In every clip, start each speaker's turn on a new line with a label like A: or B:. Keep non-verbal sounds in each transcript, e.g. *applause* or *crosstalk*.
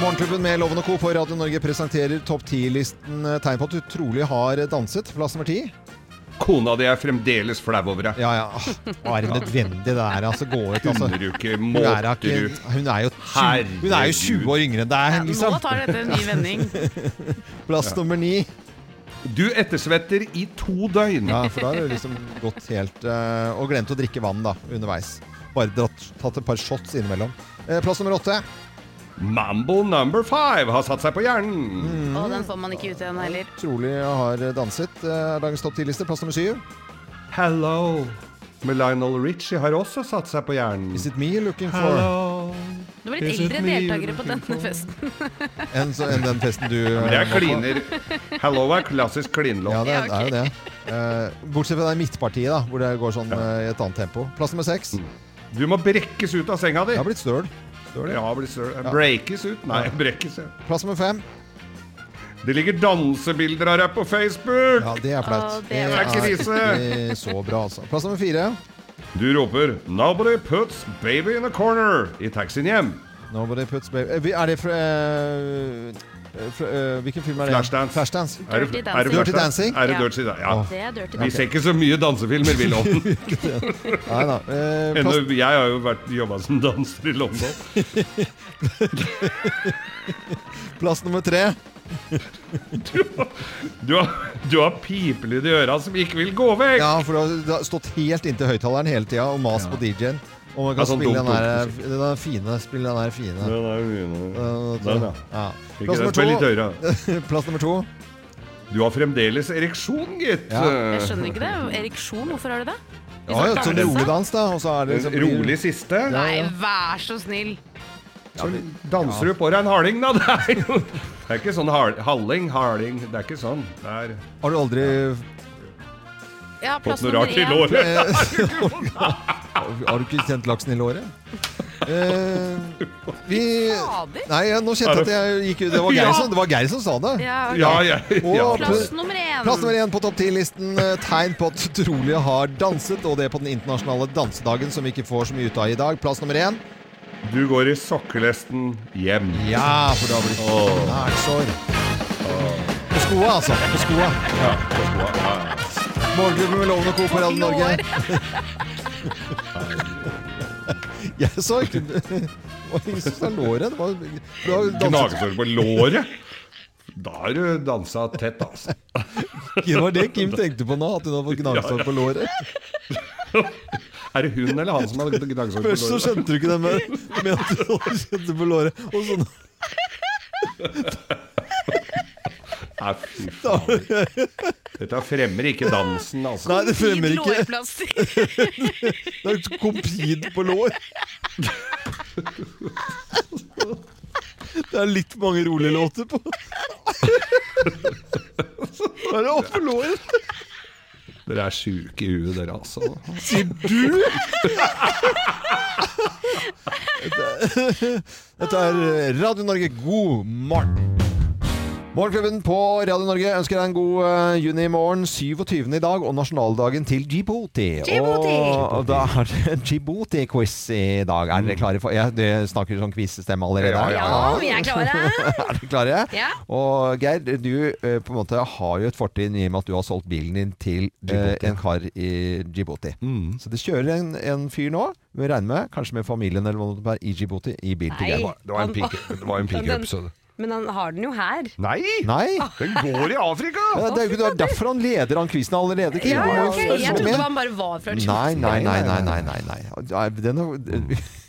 A: Morgenklubben med Loven og Co. på Radio Norge presenterer topp 10-listen eh, tegn på at du trolig har danset. Plass nummer ti.
B: Kona di er fremdeles flau over deg.
A: Ja, ja. Åh, Hva er det nødvendig det der? Altså, gå ut, altså.
B: Undrer du ikke,
A: Hun er,
B: måter
A: ikke,
B: du
A: hun er, jo, 20, hun er jo 20 år yngre enn deg, liksom.
C: Nå tar
A: *laughs*
C: dette en ny vending.
A: Plass nummer ni.
B: Du ettersvetter i to døgn.
A: Ja, for da har du liksom gått helt eh, Og glemt å drikke vann, da, underveis. Bare dratt, tatt et par shots innimellom. Eh, Plass nummer åtte.
B: Mambo number five har satt seg på hjernen.
C: Og den får man ikke ut igjen heller.
A: Mm. Trolig har danset. eh, er Dagens topp 10-liste. Plass nummer syv.
B: Hello med Lionel Richie har også satt seg på hjernen.
A: Is it me looking for?
B: Hello.
C: Det var litt
B: Is it
C: eldre
B: me
C: deltakere på
B: looking
C: denne
B: for?
C: festen. *laughs*
A: Enn så- enn den festen du eh,
B: Men det er
A: var på.
B: kliner. Hello er klassisk
A: Ja,
B: klinlåt.
A: det
C: Ja,
A: er jo det. Eh, bortsett fra det midtpartiet, da, hvor det går sånn eh, i et annet tempo. Plass nummer seks.
B: Mm. Du må brekkes ut av senga di.
A: Jeg har blitt støl. Støl, ja.
B: Ja, blir søl. Breakes ut? Nei, brekkes. ja.
A: Plass nummer fem.
B: Det ligger dansebilder av deg på Facebook.
A: Ja, det er
C: Å,
A: flaut.
C: det er
B: flaut. Det er krise.
A: ikke så bra, altså. Plass nummer fire.
B: Du roper 'Nobody puts baby in a corner' i taxien hjem.
A: Nobody puts baby Eh, vi- Er det fra, eh, fra eh, Hvilken film er det?
B: Flashdance.
A: Flashdance.
B: Er det-
C: Dirty
B: er det
A: Dirty Dancing?
C: Dancing.
B: flashback? Er det
C: Ja.
B: dirty, da? ja.
C: Det er dirty
B: Vi
C: dancing.
B: ser ikke så mye dansefilmer, vi, i London.
A: Nei da. Eh,
B: Enda-
A: plass,
B: Jeg har jo vært jobba som danser i London.
A: plass nummer tre.
B: *laughs* Du har, du har pipelyd i øra som ikke vil gå vekk.
A: Ja, for du har- du har stått helt inntil høyttaleren hele tida og mast på DJ-en. Og man kan
B: Ja, sånn
A: spille den
B: dumt,
A: der,
B: dumt
A: den der fine. Spille den der fine.
B: Den er jo-
A: Eh,
B: Den, ja.
A: ja.
B: Ikke
A: Plass
B: det,
A: nummer
B: spill litt
A: to.
B: høyere.
A: *laughs* Plass nummer to.
B: Du har fremdeles ereksjon, gitt. Eh,
A: Ja.
C: Jeg skjønner ikke det. Ereksjon, hvorfor har du det? Hvis
A: Ja,
C: han
A: ja, sånn
C: danser?
A: rolig dans, da. Og så er det
B: En
A: liksom,
B: Rolig siste.
A: Ja,
C: Nei,
A: ja.
C: vær så snill.
B: Så danser du på deg en harling, da. *laughs* Det er jo det er ikke sånn hal- halling, harling. Det er ikke sånn. Det er
A: Har du aldri
C: Jeg har
B: fått
C: plass
B: noe
C: nummer
B: rart i *laughs*
C: én.
B: låret.
A: Har du ikke kjent laksen i låret? Eh, vi
C: Fader.
A: Nei, jeg, nå kjente jeg at jeg gikk ut. Det var Geir
B: Ja.
A: som, det var Geir som sa det.
C: Ja, ok.
B: Ja, ja, ja.
A: Og
C: Plass nummer én.
A: Plass nummer én på topp ti-listen. eh, Tegn på at du trolig har danset, og det på den internasjonale dansedagen som vi ikke får så mye ut av i dag. Plass nummer én.
B: Du går i sokkelesten hjem.
A: Ja, for da blir det nælsår. På skoa, altså. På skoa. Morgenklubben med Loven og Co. på Radio Norge. *laughs* Jeg så ikke Hva syns du er låret? Det var du har danset
B: Gnagesår på låret. Da har du dansa tett, altså.
A: *laughs* Det var det Kim tenkte på nå, at hun hadde fått gnagsår på låret.
B: *laughs* Er det hun eller han som har gnagesår på
A: Først så
B: låret?
A: skjønte du ikke det med,
C: *laughs*
A: med at du hadde kjente på låret, og så nå-
B: Nei, fy faen. Dette fremmer ikke dansen, altså.
A: Nei, det fremmer
C: Fint
A: ikke.
C: lårplaster.
A: *laughs* Det er jo kompid på lår. Det er litt mange rolige låter på Hva er det oppå låret?
B: Dere er sjuke i huet, dere, altså.
A: Sier du? Dette- *laughs* Dette er eh, Radio Norge, god morgen. Morgenklubben på Radio Norge ønsker deg en god eh, junimorgen. 27. i dag og nasjonaldagen til Djibouti.
C: Djibouti!
A: Og da er det en Djibouti-quiz i dag. Er dere klare for ja, Det snakker sånn quizstemme allerede.
B: Ja,
C: Ja, vi er klare.
A: *laughs* Er dere klare?
C: Ja.
A: Og Geir, du eh, på en måte har jo et fortrinn i og med at du har solgt bilen din til eh, en kar i Djibouti.
B: Mm.
A: Så det kjører en, en fyr nå, vi regner med, kanskje med familien eller noe, sånt, i Djibouti, i bil til
C: Nei.
A: Geir.
B: Det var en pick-
C: *laughs*
B: det var en pickup, så det
C: Men han har den jo her.
B: Nei!
A: Nei!
B: Den går i Afrika!
A: Ja, det er jo ikke det er derfor han leder an quizen allerede. Kim.
C: Ja,
A: Du må jo
C: ok,
A: følge
C: Jeg
A: med.
C: trodde han bare var fra
A: Nei, nei, nei, nei, nei, nei, nei. Den er,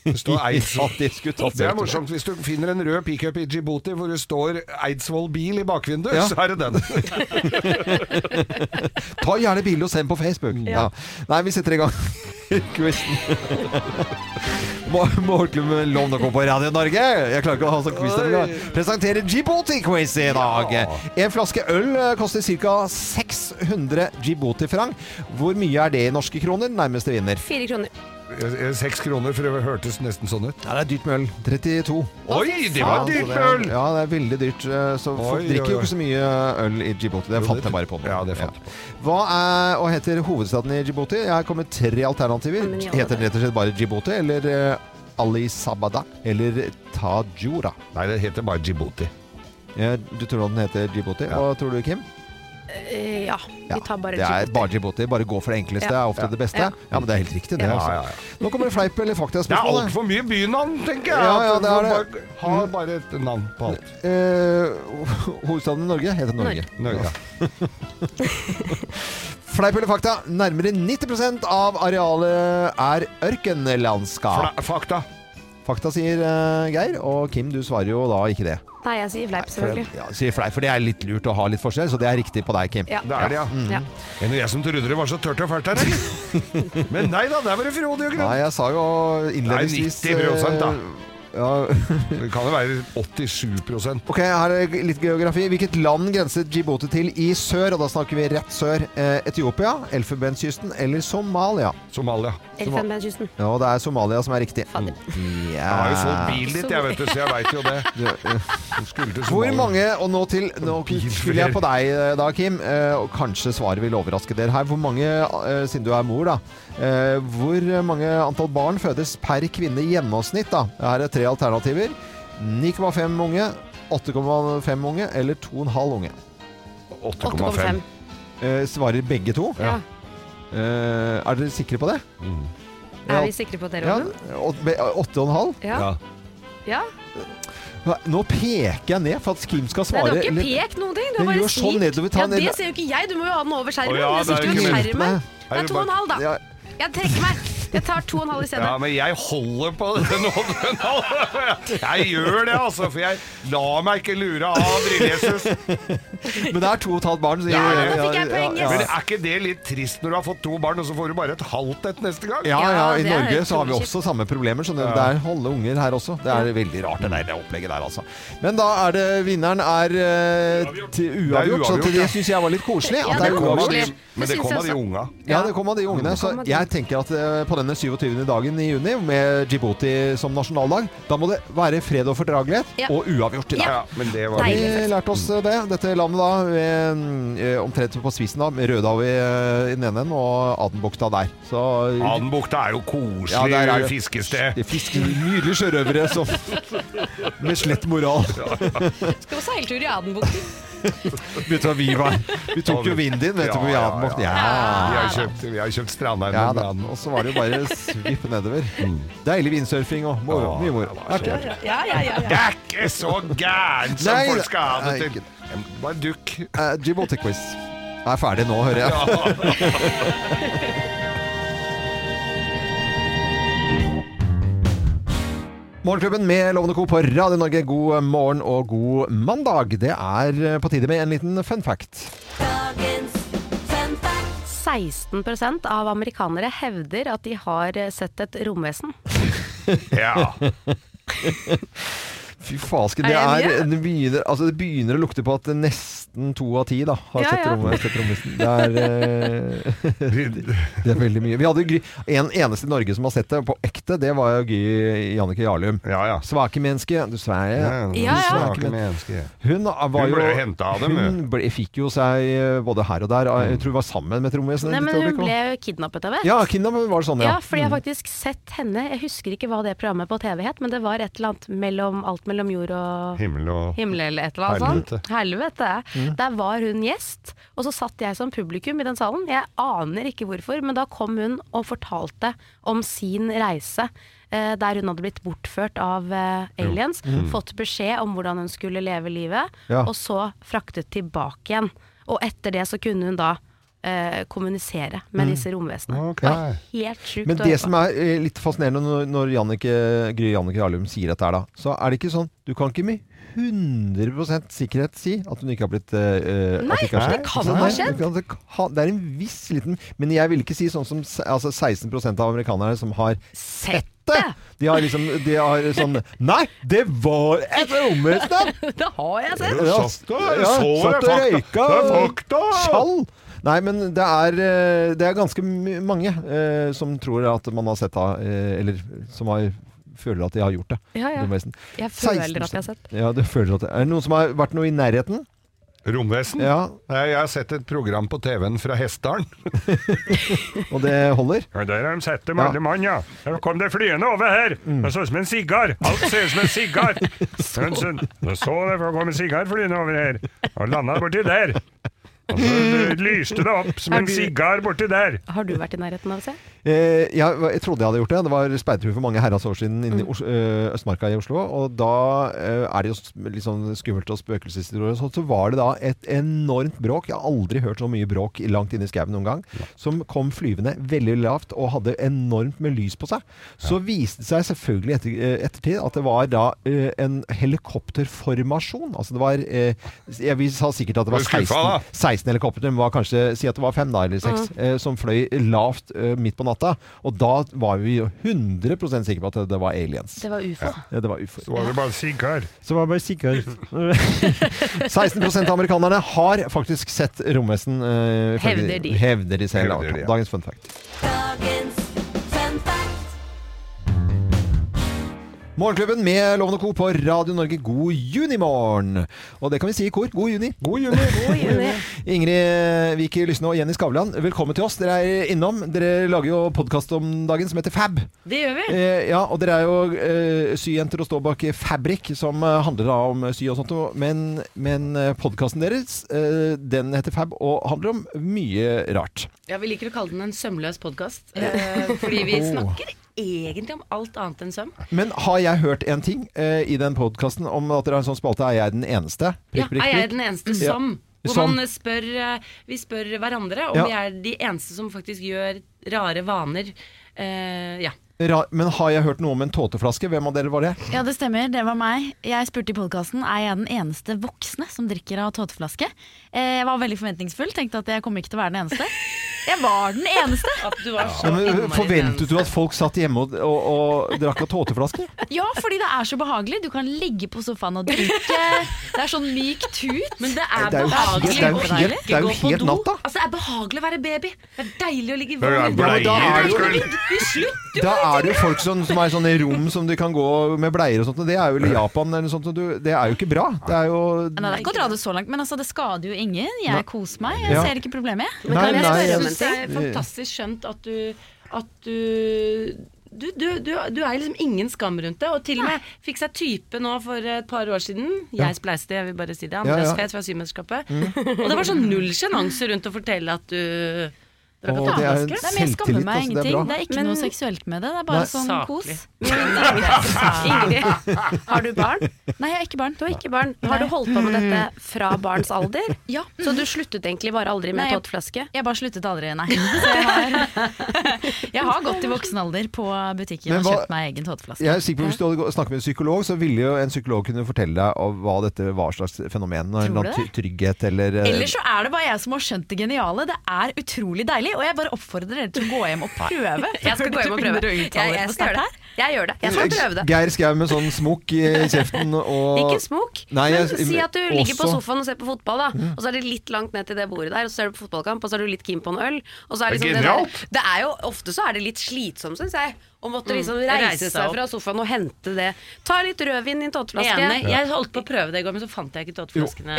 B: Det
A: *laughs*
B: står Eidsvoll.
A: At de skulle tatt
B: Det er morsomt hvis du finner en rød pickup i Djibouti hvor det står Eidsvoll bil i bakvinduet,
A: Ja.
B: så er det den.
A: *laughs* Ta gjerne bilde og send på Facebook. Ja. Nei, vi setter i gang *laughs* quizen. *laughs* Morgenklubben Lovende på Radio Norge. Jeg klarer ikke å ha sånn quiz der. men jeg Presenterer Djibouti-quiz i dag. En flaske øl eh, koster ca. 600 Djibouti-franc. Hvor mye er det i norske kroner? Nærmeste vinner.
C: Fire kroner.
B: Eh, eh, Seks kroner for det hørtes nesten sånn ut.
A: Ja, det er dyrt med øl. 32.
B: Oi, det var
A: Ja,
B: dyrt
A: så
B: med
A: det-
B: øl!
A: Ja, det er veldig dyrt. eh, Så folk
B: Oi, oi,
A: drikker jo
B: oi.
A: ikke så mye eh, øl i Djibouti. Det
B: Jo,
A: fant
B: det-
A: jeg bare på nå.
B: ja, det fant jeg på.
A: Hva er og heter hovedstaden i Djibouti? Jeg har kommet med tre alternativer.
C: Men i alle
A: Heter den rett og slett bare Djibouti, eller eh, Ali Sabada, eller Tajura?
B: Nei, det heter bare Djibouti.
A: Eh, Du tror den heter Djibouti.
B: Ja.
A: Hva tror du, Kim?
C: Eh, ja, vi tar bare
A: det er
C: Djibouti.
A: bare Djibouti. Bare gå for det enkleste.
C: Ja.
A: er ofte det beste.
C: Ja.
A: Ja. men det er helt riktig, det.
B: Ja,
A: altså.
B: ja, ja.
A: Nå kommer det fleip eller
B: Det er
A: fakta-spørsmålet.
B: altfor mye bynavn, tenker jeg.
A: Ja, ja, det er
B: Bare-
A: det.
B: Har bare et navn på alt.
A: Eh, hovedstaden i Norge heter Norge.
C: Norge.
B: Norge. ja.
A: *laughs* Fleip eller fakta? Nærmere 90 av arealet er
B: Fla-
A: ørkenlandskap.
B: Fakta.
A: Fakta sier eh, Geir, og Kim, du svarer jo da ikke det.
C: Nei, jeg sier fleip,
A: For,
C: selvfølgelig.
A: ja, sier fleip, for det er litt lurt å ha litt forskjell, så det er riktig på deg, Kim. Mm.
C: Ja.
B: Det er det, ja.
C: Ja.
B: Er det jeg som trodde det var så tørt og fælt her, eller? Men nei da, der var det frodig og
A: Nei,
B: grønt.
A: jeg sa jo innledningsvis
B: Det er 90% da.
A: eh, Ja.
B: Det kan jo være 87
A: Ok, her er litt geografi. Hvilket land grenser Djibouti til i sør? Og da snakker vi rett sør. Eh, Etiopia, Elfenbenskysten eller Somalia?
B: Somalia. Somalia.
C: Elfenbenskysten.
A: Ja, det er Somalia som er riktig. Mm,
C: Fader.
A: Ja.
B: Jeg har jo solgt bil dit, jeg, vet du, så jeg veit jo det. Jeg skulle til
A: Hvor
B: Somalia.
A: mange, og nå til Nå skulle jeg på deg eh, da, Kim, eh, og kanskje svaret vil overraske dere her. Hvor mange, eh, siden du er mor, da eh, Hvor mange antall barn fødes per kvinne i gjennomsnitt, da? Her er tre alternativer. 9,5 unge, 8,5 unge eller 2,5 unge.
C: 8,5.
A: Eh, Svarer begge to.
C: Ja.
A: Eh, Er dere sikre på det?
C: Er vi sikre på at dere
A: Ja,
C: har den?
A: åt- be- 8,5?
C: Ja.
B: Ja.
C: ja.
A: Nei, Nå peker jeg ned for at Kim skal
C: Nei, du
A: svare.
C: har ikke
A: litt-
C: pekt noen ting.
A: Men
C: Du har bare
A: gjør sånn
C: snikt.
A: nedover, ta
C: Ja,
A: den
C: det
A: ned-
C: ser jo ikke jeg. Du må jo ha den over skjermen.
B: Å ja,
C: jeg
B: det er
C: sitter jo
B: jo
C: ved
B: ikke
C: skjermen. Det
B: Er
C: er
B: det
C: to og en
B: bare-
C: halv, da.
A: Ja,
C: Jeg trekker meg. Jeg tar to og en halv i stedet.
B: Ja, men jeg holder på det nå. Jeg gjør det, altså. For jeg lar meg ikke lure av
A: *laughs*
B: Brillesus.
A: men det er to og et halvt barn. så-
C: Ja, men da fikk jeg poeng,
B: Men
C: yes.
B: er ikke det litt trist når du har fått to barn, og så får du bare et halvt et neste gang?
A: Ja, ja,
C: Ja,
A: i
C: det er
A: Norge
C: helt
A: så har vi
C: utrolig
A: også samme problemer, så det,
B: Ja.
A: det er halve unger her også. Det er veldig rart det der det opplegget der, altså. Men da er det vinneren er eh, til uavgjort, så
B: uavgjort,
A: til det
B: ja.
A: syns jeg var litt koselig.
C: Ja,
A: At det
C: det
A: er
C: kom
B: Men det
A: uavgjort.
B: kommer
C: koselig.
B: de- Men det
C: Det synes
B: kommer
C: jeg
B: av de
C: også.
B: unga.
A: Ja, det kom av de ungene. Så
C: kom av de
A: jeg tenker at eh, på denne 27. dagen i juni, med Djibouti som nasjonaldag, da må det være fred og fordragelighet
C: Ja.
A: og uavgjort i dag.
B: Ja, men det var
C: Deilig.
A: Vi lærte oss eh, det. Dette landet da, ved, eh, omtrent på spissen da, med Rødhav i, eh, i den ene enden og Adenbukta der. Så
B: Adenbukta er jo koselig
A: Ja, der er det-
B: fiskested.
A: Det fisker nydelige sjørøvere
B: *laughs*
A: som med slett moral.
C: Skal på seiltur i Adenbukten.
A: Vet du hva vi var? Vi tok jo vinden, vet du, på
B: Ja, ja,
A: Jadmokten.
B: ja. Vi
A: Ja.
B: har kjøpt, vi har kjøpt Strandheim
A: Ja
B: med
A: da.
B: Aden.
A: Og så var det jo bare svippe nedover. Deilig vindsurfing og moro.
B: Mm. Ja,
A: Mye moro.
B: det var så
A: Artig.
C: Ja, ja, ja.
B: Det er ikke så gærent som
A: Nei,
B: folk skal ha det
A: det er
B: til. Bare dukk.
A: Eh, Djibouti-quiz er ferdig nå, hører jeg. *laughs* Morgenklubben med Lovende Co. på Radio Norge, god morgen og god mandag. Det er eh, på tide med en liten fun fact.
C: 16 av amerikanere hevder at de har sett et romvesen.
B: Ja.
A: *laughs* Fy fasken,
C: Er
A: det,
C: det
A: er,
C: mye?
A: det, begynner, altså det begynner å lukte på at nesten to av ti da, har
C: Ja,
A: sett
C: ja.
A: rommet- sett rommet.
B: *laughs*
A: Det, er, eh, *laughs* det er veldig mye. Vi hadde jo Gry, en eneste i Norge som har sett det på ekte, det var jo Gry Jannicke Jarlum.
B: Ja, ja.
A: Svake menneske, du Sverige.
B: Ja,
C: ja.
B: Snakke med mennesker.
A: Hun var
B: Hun Mm.
A: jo
B: ble jo hentet av dem,
A: Hun ble, fikk jo seg eh, både her og der. Jeg tror hun var sammen med et romvesen. et lite
C: Nei, men hun
A: øyeblikk, og-
C: ble jo kidnappet av et.
A: Ja, Kidnap var det sånn, ja.
C: Ja, fordi jeg har faktisk sett henne. Jeg husker ikke hva det programmet på TV het, men det var et eller annet mellom alt mellom jord og
B: Himmel og
C: himmel eller et eller annet
B: Helvete.
C: sånt. Helvete.
A: Mm.
C: Der var hun gjest, og så satt jeg som publikum i den salen. Jeg aner ikke hvorfor, men da kom hun og fortalte om sin reise. eh, Der hun hadde blitt bortført av eh, aliens. Fått beskjed om hvordan hun skulle leve livet,
A: Mm. Ja.
C: og så fraktet tilbake igjen. Og etter det så kunne hun da eh, kommunisere med disse romvesenene.
A: Mm. Ok.
C: Det var helt sjukt.
A: Men
C: å
A: det
C: høre på.
A: som er eh, litt fascinerende når, når Jannicke, Gry Jannicke Jarlum sier dette her, da, så er det ikke sånn Du kan ikke med 100 sikkerhet si at hun ikke har blitt eh, at
C: Nei,
A: ikke har
C: det
A: skjedd.
C: kan
A: Nei,
C: ha skjedd.
A: det kan- Det, kan- det er en viss liten Men jeg vil ikke si sånn som se- altså 16 av amerikanerne som har
C: Sett
A: det.
C: det!
A: De har liksom de har sånn Nei, det var et romvesen!
C: Det har jeg sett!
A: Ja,
B: Satt og-
A: ja,
B: så det,
A: satt og
B: fakta.
A: røyka.
B: Det er fakta.
A: Tjall! Nei, men det er, eh, det er ganske m- mange eh, som tror at man har sett det, eh, eller som har, føler at de har gjort det.
C: Ja, ja.
A: romvesen.
C: Jeg føler
A: 16%.
C: at jeg har sett.
A: Ja, du føler at det. Er det noen som har vært noe i nærheten?
B: Romvesen?
A: Ja,
B: Nei, Jeg har sett et program på TV-en fra Hessdalen.
A: *laughs* og det holder?
D: Ja, der har de sett dem,
A: Ja. Mm.
D: alle mann, ja. Der kom det flyende over her. Det så ut som en sigar. Alt ser ut som en sigar. Men så, da så det, for det kom en sigar flyende over her, og landa borti der. Og så det lyste det opp som
C: Er
D: en
C: du-
D: sigar borti der.
C: Har du vært i nærheten av å se?
A: Eh, jeg, jeg trodde jeg hadde gjort det. Det var speidertur for mange herrens år siden inne i Os eh, Østmarka i Oslo. Og da eh, er det jo s- litt sånn skummelt og spøkelseshistorier. og sånt, Så var det da et enormt bråk. Jeg har aldri hørt så mye bråk i- langt inne i skauen noen gang. Som kom flyvende veldig lavt og hadde enormt med lys på seg. Så viste det seg selvfølgelig i etter, eh, ettertid at det var da eh, en helikopterformasjon. Altså det var eh, Jeg vi sa sikkert at det var
B: Du er skuffa,
A: 16, 16
B: da.
A: helikoptre, men var kanskje si at det var fem da, eller seks, eh, som fløy lavt eh, midt på natta. Og da var vi jo 100 sikre på at det, det var aliens.
C: Det var ufo.
A: Ja, det var ufor.
D: Så var det bare sigar.
A: Så var det bare sikker.
D: *laughs*
A: 16 av amerikanerne har faktisk sett romvesen. eh, ifølge-
C: Hevder de.
A: Hevder de selv. da.
B: Hevder de, ja.
A: Dagens fun fact.
E: Dagens fun fact.
A: Morgenklubben med Lovende Co. på Radio Norge, god junimorgen! Og det kan vi si i kor. God juni!
B: God
A: *laughs*
B: juni!
C: Oi, oi, oi.
A: Ingrid Vik Lysne og Jenny Skavlan, velkommen til oss. Dere er innom. Dere lager jo podkast om dagen som heter Fab.
F: Det gjør vi.
A: Eh, ja, og dere er jo eh, syjenter og står bak Fabrik, som eh, handler da om sy og sånt. og- Men, men eh, podkasten deres, eh, den heter Fab og handler om mye rart.
F: Ja, Vi liker å kalle den en sømløs podkast. fordi
A: *laughs*
F: vi
A: Oh.
F: snakker egentlig om alt annet enn søm.
A: Men har jeg hørt en ting eh, i den podkasten om at dere har en sånn spalte 'Er jeg den eneste?'
F: Ja, er jeg den eneste
A: Ja.
F: som? Hvor
A: Som.
F: man spør, eh, vi spør hverandre om
A: Ja.
F: vi er de eneste som faktisk gjør rare vaner. Eh, ja.
A: Ra men har jeg hørt noe om en tåteflaske? Hvem av dere var det?
G: Ja, det stemmer. Det var meg. Jeg spurte i podkasten er jeg den eneste voksne som drikker av tåteflaske. Eh, Jeg var veldig forventningsfull, tenkte at jeg kommer ikke til å være den eneste. Jeg var den eneste!
F: *laughs* At du var så
A: Ja, men,
F: innmari
A: forventet
F: sens.
A: du at folk satt hjemme og, og, og drakk av tåteflaske?
G: Ja, fordi det er så behagelig. Du kan ligge på sofaen og drikke. Det er sånn myk tut.
F: Men det er,
A: Det er jo helt-
F: behagelig
G: det er jo
F: å
A: helt-
F: ikke
A: det er jo
F: gå på
A: helt
F: do.
A: natta.
F: Altså, det er behagelig å være baby. Det er deilig å ligge i
B: Det er
F: vogn.
A: men da er det jo-
F: Nei, men vi slutter
A: Da er det jo folk som, som er sånn i rom som du kan gå med bleier og sånt, og det er jo i Japan eller noe sånt, og du, det er jo ikke bra. Det er jo
G: Nei, det er ikke å dra det så langt, men altså, det skader jo ingen.
A: Nei.
G: Jeg koser meg. Jeg
A: Ja.
G: ser ikke problemet.
C: Men
A: Nei,
C: kan jeg
A: nei,
C: spørre om
F: Jeg
C: en
F: syns det
C: ting?
F: er fantastisk skjønt at du, at du du, du, du, du er liksom ingen skam rundt det. Og til og med fikk seg type nå for et par år siden.
A: Ja.
F: Jeg spleiste, jeg vil bare si det.
A: Ja, Mm.
F: Andreas
A: ja.
F: Feth fra Symesterskapet. og det var sånn null sjenanse rundt å fortelle at du
A: Å,
F: drakk
A: det er
F: katanaske.
G: Det er mer skamme
A: Selvtillit,
G: meg
A: altså, det er
G: ingenting.
A: bra.
G: Det er ikke
C: Men-
G: noe seksuelt med det. Det
A: Nei.
G: er bare sånn kos. *laughs*
F: Saklig.
C: Ingrid, har du barn?
G: Nei, jeg er ikke barn.
C: Du har ikke barn. Har du holdt på med dette fra barns alder?
G: Mm. Ja.
C: Så du sluttet egentlig bare aldri med
G: Nei.
C: tåteflaske?
G: Jeg bare sluttet aldri, nei. Så jeg, har, *laughs* jeg har gått i voksen alder på butikken
A: Men
G: og
A: hva-
G: kjøpt meg egen
C: altså.
G: tåteflaske.
A: Jeg er sikker på Hvis du hadde gå- snakket med en psykolog, så ville jo en psykolog kunne fortelle deg om hva dette var slags fenomen. Og en
G: Tror
A: eller
G: du
A: annen ty- trygghet eller eh,
G: Eller så er det bare jeg som har skjønt det geniale. Det er utrolig deilig. Og jeg bare oppfordrer dere til å gå hjem og prøve.
C: *laughs* Jeg skal gå hjem og prøve. Jeg, jeg skal gjøre det. Jeg gjør det. Jeg skal prøve det.
A: Geir Skau med sånn smokk i
C: *laughs*
A: kjeften og
C: Ikke smok,
A: Nei,
C: men
A: jeg-
C: si at du ligger på
A: også- Mm.
C: sofaen og ser på fotball, da. Og så er det litt langt ned til det bordet der, og så ser du på fotballkamp, og så er du litt keen på en øl. Og så er
B: Det er
C: liksom det, der,
B: genialt.
C: det er jo Ofte så er det litt slitsomt, syns jeg, å måtte
A: Mm.
C: liksom
F: Reise
C: reise
F: seg
C: seg
F: opp.
C: fra sofaen og hente det. Ta litt rødvin i en tåteflaske.
F: Enig. Jeg holdt på å prøve det i går, men så fant jeg ikke tåteflaskene.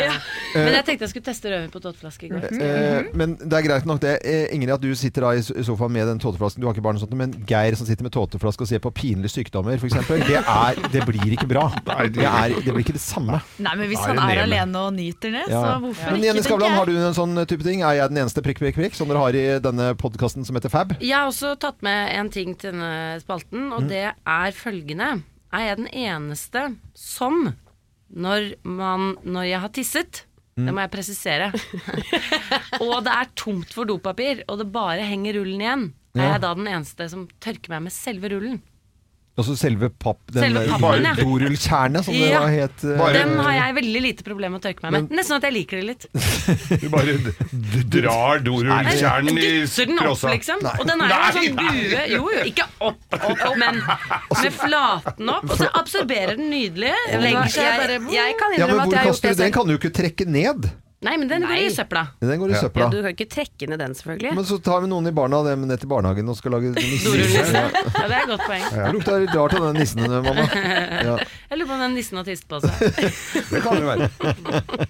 F: Men jeg tenkte jeg skulle teste rødvin på tåteflaske i går.
A: Eh, Men det er greit nok det. Eh, Ingrid, at du sitter da i so- i sofaen med den tåteflasken. Du har ikke barn og sånt, men Geir som sitter med tåteflaske og ser på pinlige sykdommer, f.eks. Det, er- det blir ikke bra. Det, er, det blir ikke det samme.
G: Nei, men hvis
B: Da
G: han
B: er det
G: er
B: ned
G: alene
B: med.
G: og nyter det, så
A: Ja.
G: hvorfor
A: Men Jenny
G: ikke? tenker jeg.
A: Skavlan, har du en sånn type ting? Er jeg den eneste prikk, prikk, prikk som dere har i denne podkasten som heter Fab?
F: Jeg har også tatt med en ting til denne spalten,
A: Mm.
F: og det er følgende. Er jeg den eneste som, når, man, når jeg har tisset,
A: Mm.
F: Det må
A: *laughs*
F: jeg presisere. og det er tomt for dopapir, og det bare henger rullen igjen. Er
A: Ja.
F: jeg da den eneste som tørker meg med selve rullen?
A: Altså selve papp... Den
F: Selve pappen, ja.
A: dorullkjernet, som det
F: Ja.
A: var het. eh,
B: Bare-
F: Den har jeg veldig lite problem med å tørke meg med. Nesten at jeg liker det litt.
B: Du bare d-
A: *laughs*
B: d- drar dorullkjernen i
F: Dytter den opp,
B: sprossa.
F: liksom. Og den er jo en sånn bue Jo, jo, ikke opp, opp, opp men med flaten opp. Og så absorberer den nydelig. Legger seg bare
C: Jeg, jeg kan
A: Ja, men
C: innrømme
A: hvor
C: at jeg har
A: kaster
C: gjort det
A: du den?
C: selv.
A: Kan du ikke trekke ned?
F: Nei, men den går i
C: Nei.
F: søpla.
A: Den går i
C: Ja,
A: søpla.
C: du kan ikke trekke ned den, selvfølgelig.
A: Men så tar vi noen i barna dem ned til barnehagen og skal lage nisser.
F: Dorullnisse.
C: *laughs*
F: Ja, det er et godt poeng.
A: Det lukta litt rart av den nissen, eh, mamma. Ja.
F: *laughs* Jeg lurer på om den nissen har tisset på seg.
A: *laughs*
B: Det kan det være.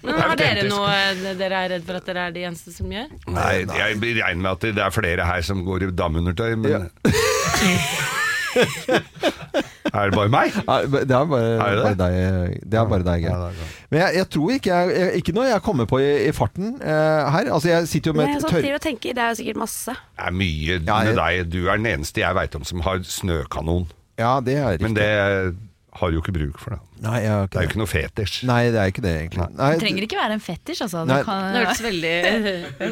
F: Men har dere noe eh, dere er redd for at dere er de eneste som gjør?
B: Nei, jeg regner med at det er flere her som går i damundertøy, men
A: Ja.
B: *laughs* Er det bare meg?
A: Nei, Det er bare,
B: Er det det?
A: bare deg, det er bare deg
B: Ja,
A: Geir.
B: det er godt.
A: Men jeg, jeg tror ikke jeg, jeg Ikke noe jeg kommer på i, i farten eh, her. Altså, jeg sitter jo
C: Nei,
A: med et
C: sånn
A: tørr...
C: driver og tenker, det er jo sikkert masse.
B: Det er mye
A: Ja, jeg-
B: med deg. Du er den eneste jeg veit om som har snøkanon.
A: Ja, det er riktig.
B: Men det har jo ikke bruk for det.
A: Nei, jeg har
B: Det
A: ikke
B: er jo
A: det.
B: ikke noe fetisj.
A: Nei, det er ikke det, egentlig. Nei,
G: Det trenger ikke være en fetisj, altså. Du
A: Nei.
G: kan,
F: Det hørtes veldig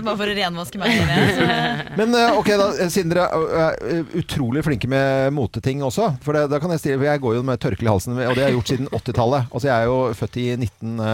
G: *laughs* bare for å renvaske meg. Dere.
F: *laughs*
A: Men eh, ok, da, eh, siden dere er eh, utrolig flinke med moteting også For det, da kan jeg stille, for jeg går jo med tørkle i halsen, og det har jeg gjort siden 80-tallet. Altså Jeg er jo født i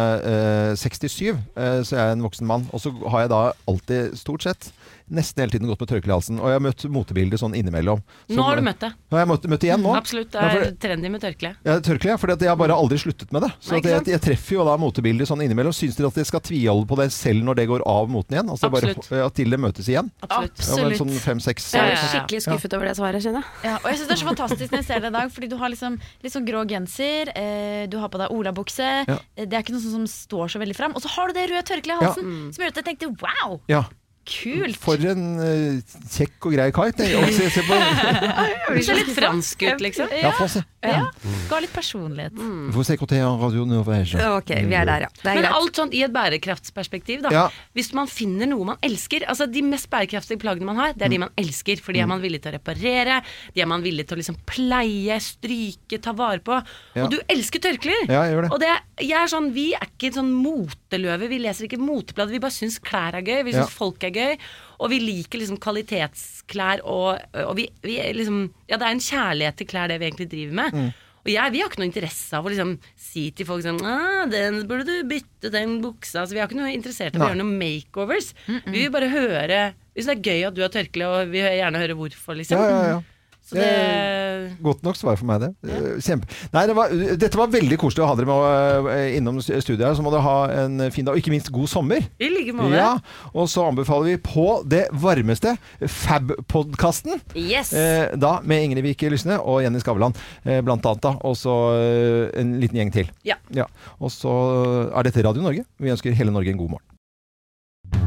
A: 1967, eh, så jeg er en voksen mann. Og så har jeg da alltid, stort sett, nesten hele tiden gått med tørkle i halsen. Og jeg har møtt motebilder sånn innimellom. Så-
F: Nå har du møtt det. Mm,
A: Nå har jeg møtt, møtt igjen nå.
F: Absolutt. Det
A: Ja, for
F: er
A: det-
F: trendy med
A: *laughs*
F: tørkle.
A: ja, tørkle, ja, for jeg har
C: Mm.
A: bare aldri sluttet med det. Så
F: Nei,
A: at
F: ikke
A: jeg,
F: sant?
A: jeg treffer jo da motebilder sånn innimellom. Syns dere at dere skal tviholde på det selv når det går av moten igjen? Altså bare,
F: Absolutt.
A: ja, til det møtes igjen?
F: Absolutt.
A: Ja, men
G: Absolutt.
A: sånn fem-seks
C: Så
F: Ja,
C: jeg er
F: ja, ja.
C: skikkelig skuffet over det svaret, kjenner jeg.
G: Ja, og jeg synes Det er så fantastisk når jeg ser det i dag, fordi du har liksom, litt sånn grå genser, eh, du har på deg olabukse.
A: Ja.
G: eh, Det er ikke noe sånn som står så veldig fram. Og så har du det røde tørkleet i
A: Ja.
G: halsen som gjør at jeg tenkte wow,
A: Ja.
G: kult!
A: For en eh, kjekk og grei kar. tenker jeg. Og Se, se på
C: *laughs*
F: Du ser litt fransk ut, liksom. Mm.
A: Ja, få se.
G: sånn- Ja. Ga litt personlighet.
A: Få se hvordan jeg har radioen over her, så.
C: Ok, vi er der, ja. Det er
F: Men
C: greit.
F: alt sånt i et bærekraftsperspektiv, da.
A: Ja.
F: Hvis man finner noe man elsker Altså De mest bærekraftige plaggene man har, det er
A: Mm.
F: de man elsker. For de er man villig til å reparere, de er man villig til å liksom pleie, stryke, ta vare på.
A: Ja.
F: Og du elsker tørklær!
A: Ja, jeg gjør det.
F: Og det, jeg er sånn, vi er ikke sånn moteløver, vi leser ikke moteblad. Vi bare syns klær er gøy, vi
A: Ja.
F: syns folk er gøy. Og vi liker liksom kvalitetsklær og, og vi, vi er liksom Ja, det er en kjærlighet til klær, det vi egentlig driver med.
A: Mm.
F: Og jeg, vi har ikke noe interesse av å liksom si til folk sånn «Ah, 'Den burde du bytte, den buksa' altså, Vi har ikke noe interessert i å
A: Nei.
F: gjøre noen makeovers. Vi vil bare høre Hvis det er gøy at du har tørkle, og vi vil gjerne høre hvorfor, liksom.
A: Ja, ja, ja.
F: Så det
A: Godt nok svar for meg, det. Eh, Kjempe. Nei, det var, dette var veldig koselig å ha dere med eh, innom studiet her. Så må dere ha en fin dag, og ikke minst god sommer.
F: I like måte.
A: Ja, og så anbefaler vi på det varmeste Fab-podkasten.
F: Yes!
A: Eh, da med Ingrid Vik Lysne og Jenny Skavlan, eh, blant annet. da Og så eh, en liten gjeng til.
F: Ja.
A: Ja. Og så er dette Radio Norge. Vi ønsker hele Norge en god morgen.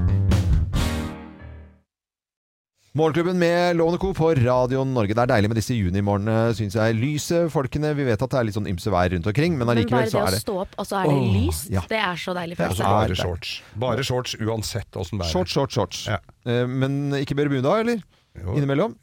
A: Morgenklubben med Lovende Co. på Radio Norge. Det er deilig med disse junimorgenene, syns jeg. Lyset, folkene. Vi vet at det er litt sånn ymse vær rundt omkring, men
C: Men
A: allikevel
C: bare det
A: så
C: å
A: er det
C: stå opp, og så er det
A: Åh,
C: lyst,
A: ja.
C: det er så deilig
A: er så
C: følelse.
A: deilig.
B: Bare shorts. Bare shorts uansett åssen det er.
A: Shorts, shorts, shorts.
B: Ja.
A: Eh, men ikke Bermuda, eller?
B: Jo,
A: Innimellom?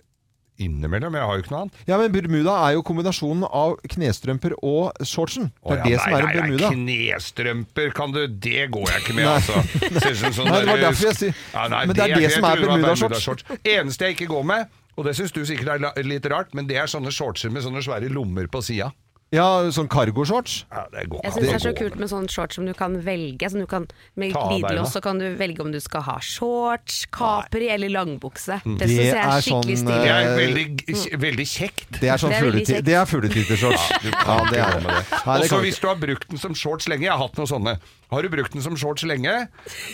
B: Innimellom. Jeg har jo ikke noe annet.
A: Ja, men Bermuda er jo kombinasjonen av knestrømper og shortsen. Det er
B: Å, ja,
A: det som er en
B: nei, nei, nei,
A: Bermuda.
B: Knestrømper, kan du Det går jeg ikke med, altså. Ser ut som sånn
A: Nei, det var
B: der-
A: derfor jeg sier-
B: Ja, nei,
A: Men det er det
B: ikke-
A: som er
B: jeg tror det var
A: Bermuda-shorts.
B: Bermuda-shorts. Eneste jeg ikke går med, og det syns du sikkert er la- litt rart, men det er sånne shortser med sånne svære lommer på sida.
A: Ja, sånn cargo-shorts.
B: Ja, det går ikke
C: Jeg
B: an
C: syns det
B: å
C: er så
B: gå
C: kult
B: med.
C: med sånn shorts som du kan velge. Som du kan, med
B: Ta av beina.
C: glidelås så kan du velge om du skal ha shorts, kapri eller langbukse. Det
A: Det
C: syns jeg
A: er
C: er skikkelig
A: sånn,
B: Det
C: stilig.
B: er veldig, k- veldig kjekt.
A: Det er sånn
C: Det er veldig
A: fugleti-
C: kjekt.
A: det er fugletittershorts. Ja, det er det. Nei,
B: Og
A: det
B: så
A: kan
B: hvis du har brukt den som shorts lenge, jeg har hatt noen sånne. Har du brukt den som shorts lenge,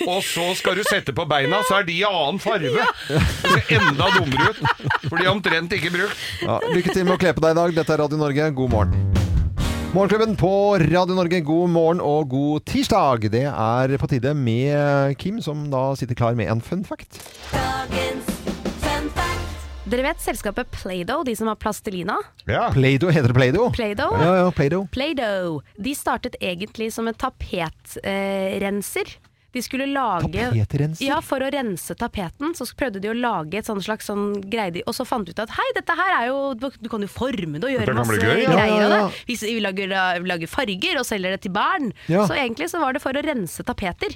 B: og så skal du sette på beina, så er de i annen farve. Det ser enda dummere ut. For de er omtrent ikke brukt.
A: Ja, lykke til med å kle på deg i dag. Dette er Radio Norge, god morgen. Morgenklubben på Radio Norge, god morgen og god tirsdag. Det er på tide med Kim, som da sitter klar med en fun fact.
E: Dagens fun fact.
C: Dere vet selskapet Play-Doh, de som har plastelina?
B: Ja.
A: Play-Doh, heter det Play-Doh?
C: Play-Doh?
A: Ja, ja, Play-Doh.
C: Play-Doh. De startet egentlig som en tapetrenser. Eh, renser. de skulle lage
A: Tapetrenser?
C: Ja, for å rense tapeten. Så prøvde de å lage et sånn slags sånn greie, de- og så fant de ut at hei, dette her er jo Du kan jo forme det og gjøre
B: Dette kan
C: masse
B: bli gøy,
A: ja.
C: greier av
A: Ja, ja,
C: det. Vi, vi, lager, vi lager farger og selger det til barn.
A: Ja.
C: Så egentlig så var det for å rense tapeter.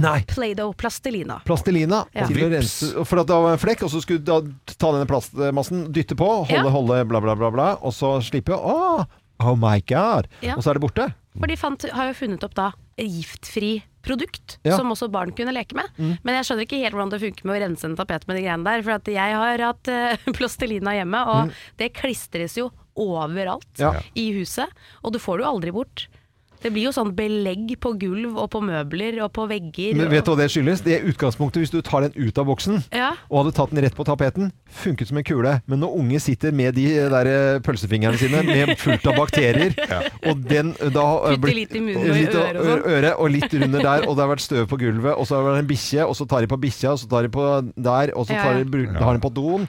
A: Nei.
C: Play-Doh plastelina.
A: Plastelina
C: Ja.
A: til å
B: Vips.
A: rense For at det var en flekk, og så skulle du da ta denne plastmassen, dytte på, holde,
C: Ja.
A: holde, bla, bla, bla, bla, og så slippe. Åh, oh my god!
C: Ja.
A: Og så er det borte.
C: For de fant, har jo funnet opp da giftfri produkt,
A: Ja. Mm.
C: som også barn kunne leke med. Men jeg skjønner ikke helt hvordan det funker med å rense en tapet med de greiene der. For at jeg har hatt eh, *laughs* plastelina hjemme, og det klistres jo overalt
A: Mm. Ja.
C: i huset. Og du får det jo aldri bort. Det blir jo sånn belegg på gulv og på møbler og på vegger.
A: Men vet du
C: og,
A: hva det skyldes? Det er utgangspunktet hvis du tar den ut av boksen
C: Ja.
A: og hadde tatt den rett på tapeten, funket som en kule. Men når unge sitter med de der eh, pølsefingrene sine med fullt av bakterier, og den da eh,
C: Putter litt i munnen og i
A: litt
C: øret og sånn.
A: ø- øret, og litt under der, og det har vært støv på gulvet, og så har det vært en bikkje, og så tar de på bikkja, og så tar de på der, og så
C: Ja,
A: tar de,
C: ja.
A: bru- har de på doen.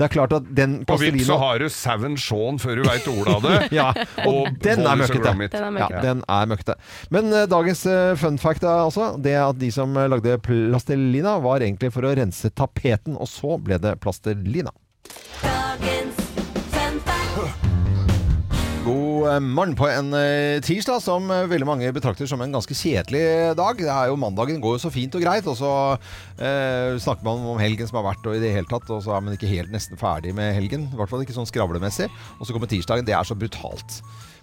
A: Det er klart at den
B: På vipp så
A: plastelina
B: har du sauen Shaun før du veit ordet av det.
A: ja, og
B: Og
A: den
B: Bollys
A: er
B: og
A: møkkete.
B: Gromit.
C: Den er
A: Ja,
C: mørk.
A: den er møkkete. Men eh, dagens eh, fun fact er altså det at de som eh, lagde plastelina, var egentlig for å rense tapeten, og så ble det plastelina.
E: Dagens fun fact.
A: God eh, morgen på en eh, tirsdag som eh, veldig mange betrakter som en ganske kjedelig eh, dag. Det er jo Mandagen går jo så fint og greit, og så eh, snakker man om helgen som har vært og i det hele tatt, og så er man ikke helt nesten ferdig med helgen. I hvert fall ikke sånn skravlemessig. Og så kommer tirsdagen. Det er så brutalt.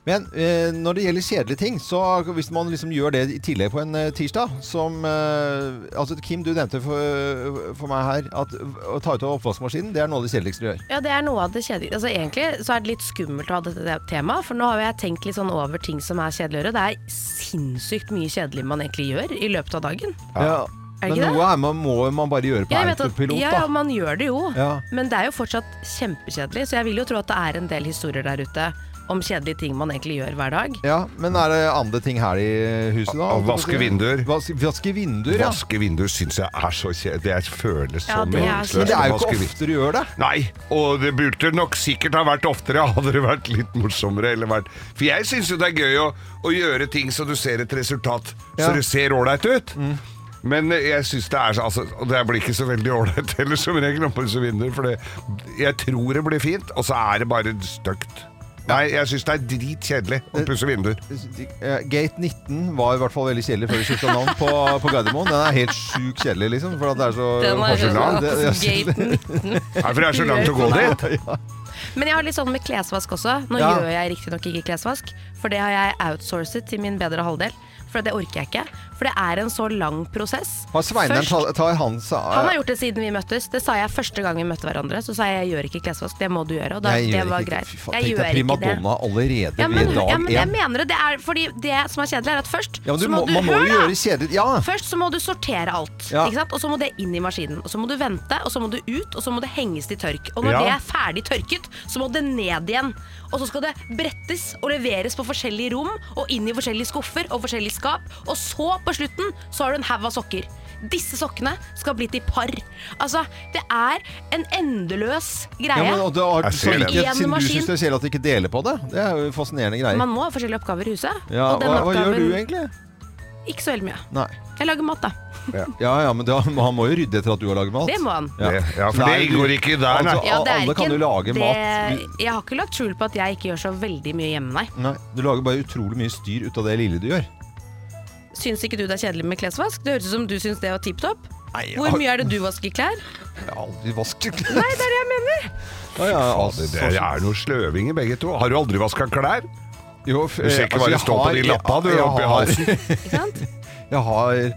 A: Men eh, når det gjelder kjedelige ting, så hvis man liksom gjør det i tillegg på en eh, tirsdag som eh, Altså, Kim, du nevnte for, for meg her at å ta ut av oppvaskmaskinen, det er noe av det kjedeligste du gjør.
C: Ja, det er noe av det kjedelige. Altså, egentlig så er det litt skummelt å ha dette temaet, for nå har jo jeg tenkt litt sånn over ting som er kjedeligere. Det er sinnssykt mye kjedelig man egentlig gjør i løpet av dagen.
A: Ja.
C: Er det
A: Men
C: ikke det?
A: noe er man, må man bare gjøre på
C: Jeg vet at-
A: autopilot,
C: ja,
A: da.
C: ja, man gjør det jo.
A: Ja.
C: Men det er jo fortsatt kjempekjedelig, så jeg vil jo tro at det er en del historier der ute om kjedelige ting man egentlig gjør hver dag.
A: Ja, Men er det andre ting her i huset, da?
B: Å vaske vinduer.
A: Vaske, vaske vinduer, ja.
B: Vaske vinduer syns jeg er så kjedelig. Det føles så
C: Ja, det er
B: meningsløst.
C: kjedelig.
A: Men det er
B: å
A: jo
B: vaske
A: ikke
B: vinduer.
A: ofte du gjør det.
B: Nei, og det burde nok sikkert ha vært oftere, *laughs* hadde det vært litt morsommere. Eller vært. For jeg syns jo det er gøy å, å gjøre ting så du ser et resultat,
A: Ja. Mm.
B: så det ser ålreit ut. Men eh, jeg syns det er så altså, og Det blir ikke så veldig ålreit *laughs* heller, som regel, om disse vinduene. For det, jeg tror det blir fint, og så er det bare stygt. Nei, jeg syns det er dritkjedelig å pusse vinduer.
A: Eh, Gate 19 var i hvert fall veldig kjedelig før de skifta navn på, på Gardermoen. Den er helt sjukt kjedelig, liksom. For at det er så
F: Den er
A: så langt. Det- det er så-
F: Gate
B: *laughs*
F: 19.
B: Nei, for det er så langt å gå dit.
C: Men jeg har litt sånn med klesvask også. Nå
A: Ja.
C: gjør jeg riktignok ikke klesvask, for det har jeg outsourcet til min bedre halvdel. For det orker jeg ikke. For det er en så lang prosess.
A: Har Sveineren
C: Først-
A: ta- tar hans
C: Han har gjort det siden vi møttes. Det sa jeg første gang vi møtte hverandre. Så sa jeg 'jeg gjør ikke klesvask', det må du gjøre. Og da, det var greit.
A: Fy faen, tenk deg
C: gjør ikke det.
A: primadonna allerede
C: Ja, men,
A: ved dag
C: ja, men jeg
A: én.
C: mener det. det er, fordi det som er kjedelig, er at først
A: Ja, men du
C: så må
A: må,
C: du
A: man må
C: hør
A: jo
C: da!
A: gjøre kjedelig Ja!
C: Først så må du sortere
A: Ah.
C: alt,
A: Ja.
C: ikke sant? og så må det inn i maskinen. Og så må du vente, og så må det ut, og så må det henges til tørk. Og når
B: Ja.
C: det er ferdig tørket, så må det ned igjen. Og så skal det brettes og leveres på forskjellige rom, og inn i forskjellige skuffer og forskjellige skap. Og så, på slutten, så har du en haug av sokker. Disse sokkene skal bli til par. Altså, det er en endeløs
A: Ja,
C: greie.
A: men, og du har
B: Jeg ser det.
A: samvittighet
C: Igjen
A: siden du
C: maskin.
A: syns det er kjedelig at du ikke deler på det. Det er jo fascinerende greier.
C: Man må ha forskjellige oppgaver i huset.
A: Ja,
C: og den
A: hva, hva gjør
C: oppgaven
A: du egentlig?
C: Ikke så veldig mye.
A: Nei.
C: Jeg lager mat, da.
A: Ja, ja, men da, han må jo rydde etter at du har laget mat.
C: Det må han.
B: Ja, ja, for
A: Nei,
B: det går ikke der, nei.
A: altså,
C: Ja, det er
A: alle kan jo
C: ikke-
A: lage
C: det,
A: mat.
C: Jeg har ikke lagt skjul på at jeg ikke gjør så veldig mye hjemme, nei.
A: Nei, du lager bare utrolig mye styr ut av det lille du gjør.
C: Syns ikke du det er kjedelig med klesvask? Det høres ut som du syns det var tipp topp.
A: Nei, jeg
C: Hvor
A: har-
C: mye er det du vasker klær?
A: Jeg har aldri vasket klær. Nei, det er det jeg mener. Ja, ja, altså,
B: Det det er noe sløvinger begge to. Har du aldri vaska klær?
A: Jo, f-
B: Du ser
A: eh,
B: ikke hva det
A: jeg
B: står på
A: har-
B: de lappa du
A: jeg
B: oppi
A: har- *laughs*
B: halsen.
C: Ikke sant?
A: Jeg har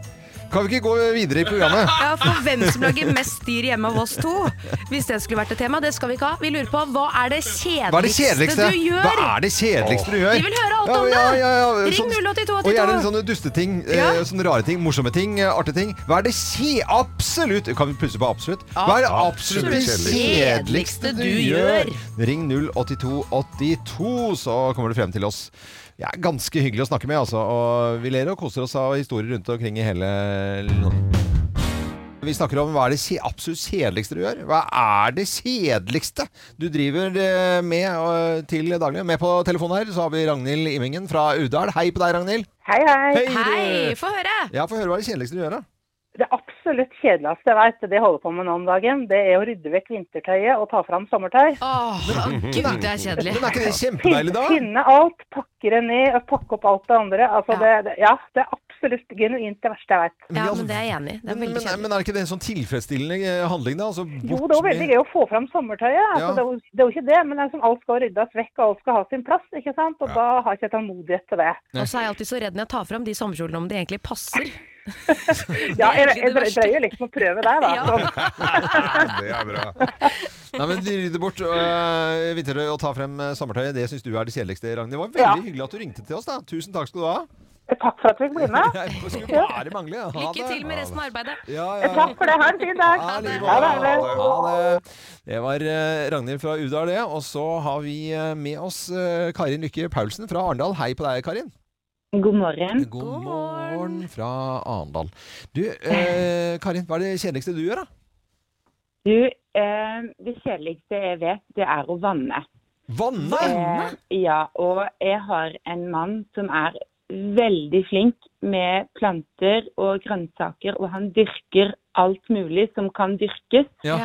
A: Kan vi ikke gå videre i programmet?
C: Ja, for hvem som lager mest dyr hjemme av oss to? Hvis det skulle vært et tema, det skal vi ikke ha. Vi lurer på hva er det kjedeligste,
A: Hva er det kjedeligste?
C: du
A: Hva
C: gjør?
A: er det kjedeligste du gjør?
C: Vi vil høre alt
A: ja,
C: om det.
A: ja, sånn- ja,
C: Ring 082
A: Og gjerne sånne dusteting.
C: Ja.
A: Eh, sånne rare ting. Morsomme ting. eh, Artige ting. Hva er det kje... Absolutt! Kan vi plusse på absolutt? Hva er det absolutt det
B: Absolutt
A: kjedeligste
C: kjedeligste
A: du
C: du
A: gjør?
C: gjør?
A: Ring 08282, så kommer du frem til oss. Det er ganske hyggelig å snakke med, altså. Og vi ler og koser oss av historier rundt omkring i hele landet. Vi snakker om hva er det kje- absolutt kjedeligste du gjør. Hva er det kjedeligste du driver eh, med eh, til daglig? Med på telefonen her så har vi Ragnhild Immingen fra Udal. Hei på deg, Ragnhild.
H: Hei, hei.
A: du.
C: Hei, få høre!
A: Ja, få høre hva er det kjedeligste du gjør, da.
H: Det absolutt kjedeligste jeg vet, det jeg holder på med nå om dagen, det er å rydde vekk vintertøyet og ta fram sommertøy.
C: Åh, gud, det er kjedelig.
A: Men er ikke det
H: Finne,
A: kjempedeilig, da?
H: finne alt, pakke det ned, og pakke opp alt det andre. Altså,
C: Ja.
H: Det, det, ja, det er absolutt genuint det verste jeg veit.
A: Men i
C: Ja,
A: all-
C: men det er jeg enig i. Det er
A: Men,
C: veldig
A: men,
C: kjedelig.
A: men er ikke det en sånn tilfredsstillende eh, handling, da? Altså,
H: Jo,
A: bort
H: det er jo veldig
A: med-
H: gøy å få fram sommertøyet. Altså,
A: Ja.
H: det, er jo, det er jo ikke det, men det er som alt skal ryddes vekk, og alt skal ha sin plass. ikke sant? Og da har ikke jeg tålmodighet til det.
C: Og så er jeg alltid så redd når jeg tar fram de sommerkjolene om de egentlig passer.
H: Ja, jeg, jeg
C: egentlig det
H: drø-
C: verste.
H: drøyer liksom å prøve der, da.
C: Ja.
H: Sånn.
B: Det er bra.
A: *laughs* Nei, men de rydder bort øh, vintertøy og tar frem eh, sommertøyet. Det syns du er det kjedeligste, Ragnhild. Det var veldig hyggelig at du ringte til oss, da. Tusen takk skal du ha.
H: Takk for at du fikk
A: *laughs*
H: bli med.
A: Jeg skulle bare mangle. Ha
C: Lykke
A: det.
C: til med resten av arbeidet.
A: Ja, ja.
H: Takk for det. Ha en fin dag.
A: Ha det.
H: Ha det, ha det.
A: Ha det. Det var eh, Ragnhild fra Udal, det. Og så har vi eh, med oss eh, Karin Lykke Paulsen fra Arendal. Hei på deg, Karin.
H: God morgen.
A: God morgen fra Arendal. Du,
H: *laughs*
A: eh, Karin, hva er det kjedeligste du gjør, da?
I: Du, eh, det kjedeligste jeg vet, det er å vanne.
A: Vanne!
I: Eh, ja, og jeg har en mann som er veldig flink med planter og grønnsaker, og han dyrker alt mulig som kan dyrkes.
A: *laughs* Ja.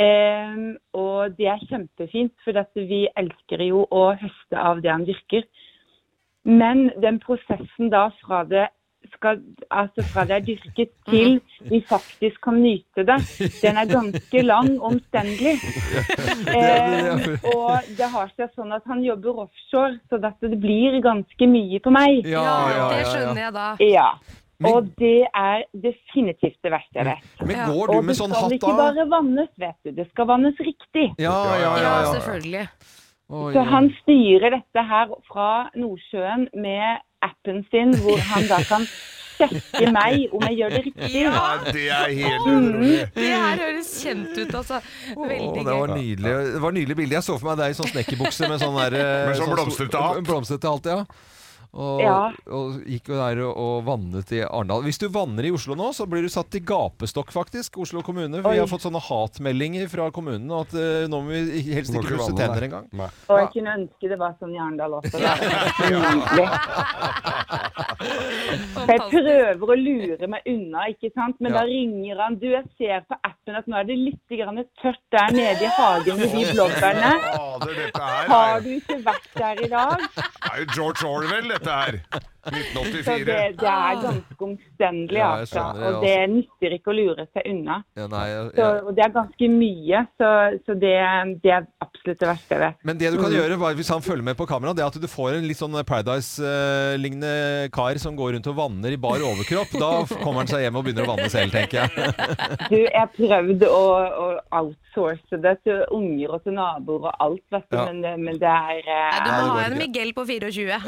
I: Eh, og det er kjempefint, for at vi elsker jo å høste av det han dyrker. Men den prosessen da fra det skal, altså fra det er dyrket til vi faktisk kan nyte det, den er ganske lang og omstendelig.
A: *laughs*
I: Eh, og det har seg sånn at han jobber offshore, så dette, det blir ganske mye på meg.
A: Ja, ja, ja,
C: det
A: ja.
C: skjønner jeg da.
I: Ja.
A: Men-
I: Og det er definitivt det verste jeg vet.
A: Men
C: Ja.
A: går du
I: Og det
A: med sånn
I: skal
A: hatt
I: ikke
A: da?
I: bare vannes, vet du. Det skal vannes riktig.
A: Ja, ja,
C: Ja,
A: ja. ja.
C: selvfølgelig.
A: Oi,
I: Så
A: oi.
I: han styrer dette her fra Nordsjøen med appen sin, hvor han da kan sjekke meg om jeg gjør det riktig. Mm.
B: Ja, det er helt utrolig.
C: Det her høres kjent ut, altså.
A: Å,
C: Veldig
A: det var
C: gøy.
A: nydelig. Det var nydelig bilde. Jeg så for meg deg i sånn snekkerbukse med sånn der eh,
B: Med sånn blomstrete hatt.
A: Blomstrete hatt, ja. Og,
I: Ja.
A: og gikk jo der og, og vannet i Arendal. Hvis du vanner i Oslo nå, så blir du satt i gapestokk, faktisk. Oslo kommune. Vi
I: Oi.
A: har fått sånne hatmeldinger fra kommunen at eh, nå må vi helst
B: Må
A: ikke
B: ikke
A: pusse
B: vanne,
A: tenner
B: nei.
A: engang.
B: Nei.
I: Og jeg kunne ønske det var sånn i Arendal også. Det er nydelig. Så jeg prøver å lure meg unna, ikke sant? men
A: Ja.
I: da ringer han. Du, jeg ser på appen at nå er det litt grann tørt der nede i hagen med de blåbærene.
B: Fader, dette her
I: Har
B: er,
I: du ikke vært der i dag?
B: det er jo George Orwell, dette her.
I: Så det,
B: 1984.
I: det er ganske omstendelig,
A: Ja, jeg
I: altså.
A: skjønner det,
I: Og det nytter ikke å lure seg unna.
A: Ja, nei, jeg-
I: Så,
A: jeg-
I: og det er ganske mye, så, så det, det er absolutt det verste jeg vet.
A: Men det du
I: Mm.
A: kan gjøre, bare hvis han følger med på kamera, det er at du får en litt sånn Paradise-lignende kar som går rundt og vanner i bar overkropp. Da kommer han seg hjem og begynner å vanne selv, tenker
I: *laughs*
A: jeg.
I: Du, jeg prøvde å, å outsource det til unger og til naboer og alt, vet du,
A: Ja.
I: men, det- men det er eh,
C: Nei, du
A: Nei, det
C: må
A: går
C: ha en
A: ikke.
C: Miguel på 24.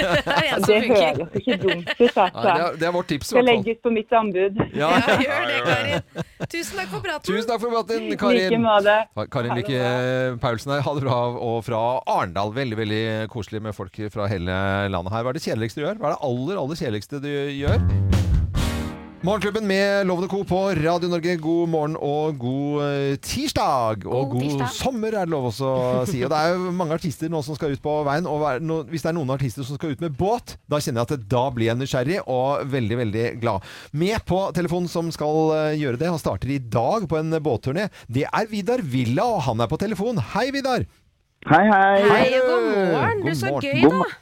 C: *laughs* Det er en som
I: Det
C: funker.
I: høres ikke dumt ut,
A: Nei, det,
I: altså.
A: er, det er vårt tips, i hvert
I: Skal
A: fall.
I: legges på mitt anbud.
A: Ja.
C: Ja, gjør det,
A: *laughs*
C: Karin. Tusen takk for praten.
A: Tusen takk for praten,
I: I like
A: Karin.
I: måte.
A: Karin
I: Ha det
A: Lykke Paulsen her. Ha det bra. Og fra Arendal. Veldig veldig koselig med folk fra hele landet her. Hva er det kjedeligste du gjør? Hva er det aller aller kjedeligste du gjør? Morgenklubben med Lovende Co. på Radio Norge, god morgen og god eh, tirsdag! Og god,
C: God tirsdag.
A: sommer, er det lov også å si. Og det er jo mange artister nå som skal ut på veien. Og hver- no, hvis det er noen artister som skal ut med båt, da kjenner jeg at det, da blir jeg nysgjerrig og veldig, veldig glad. Med på telefonen som skal eh, gjøre det, han starter i dag på en båtturné, det er Vidar Villa, og han er på telefon. Hei, Vidar!
J: Hei, hei.
C: Hei og
A: du.
C: god morgen. Du,
A: God
C: så
A: morgen.
C: gøy,
J: God
C: da.
J: morgen.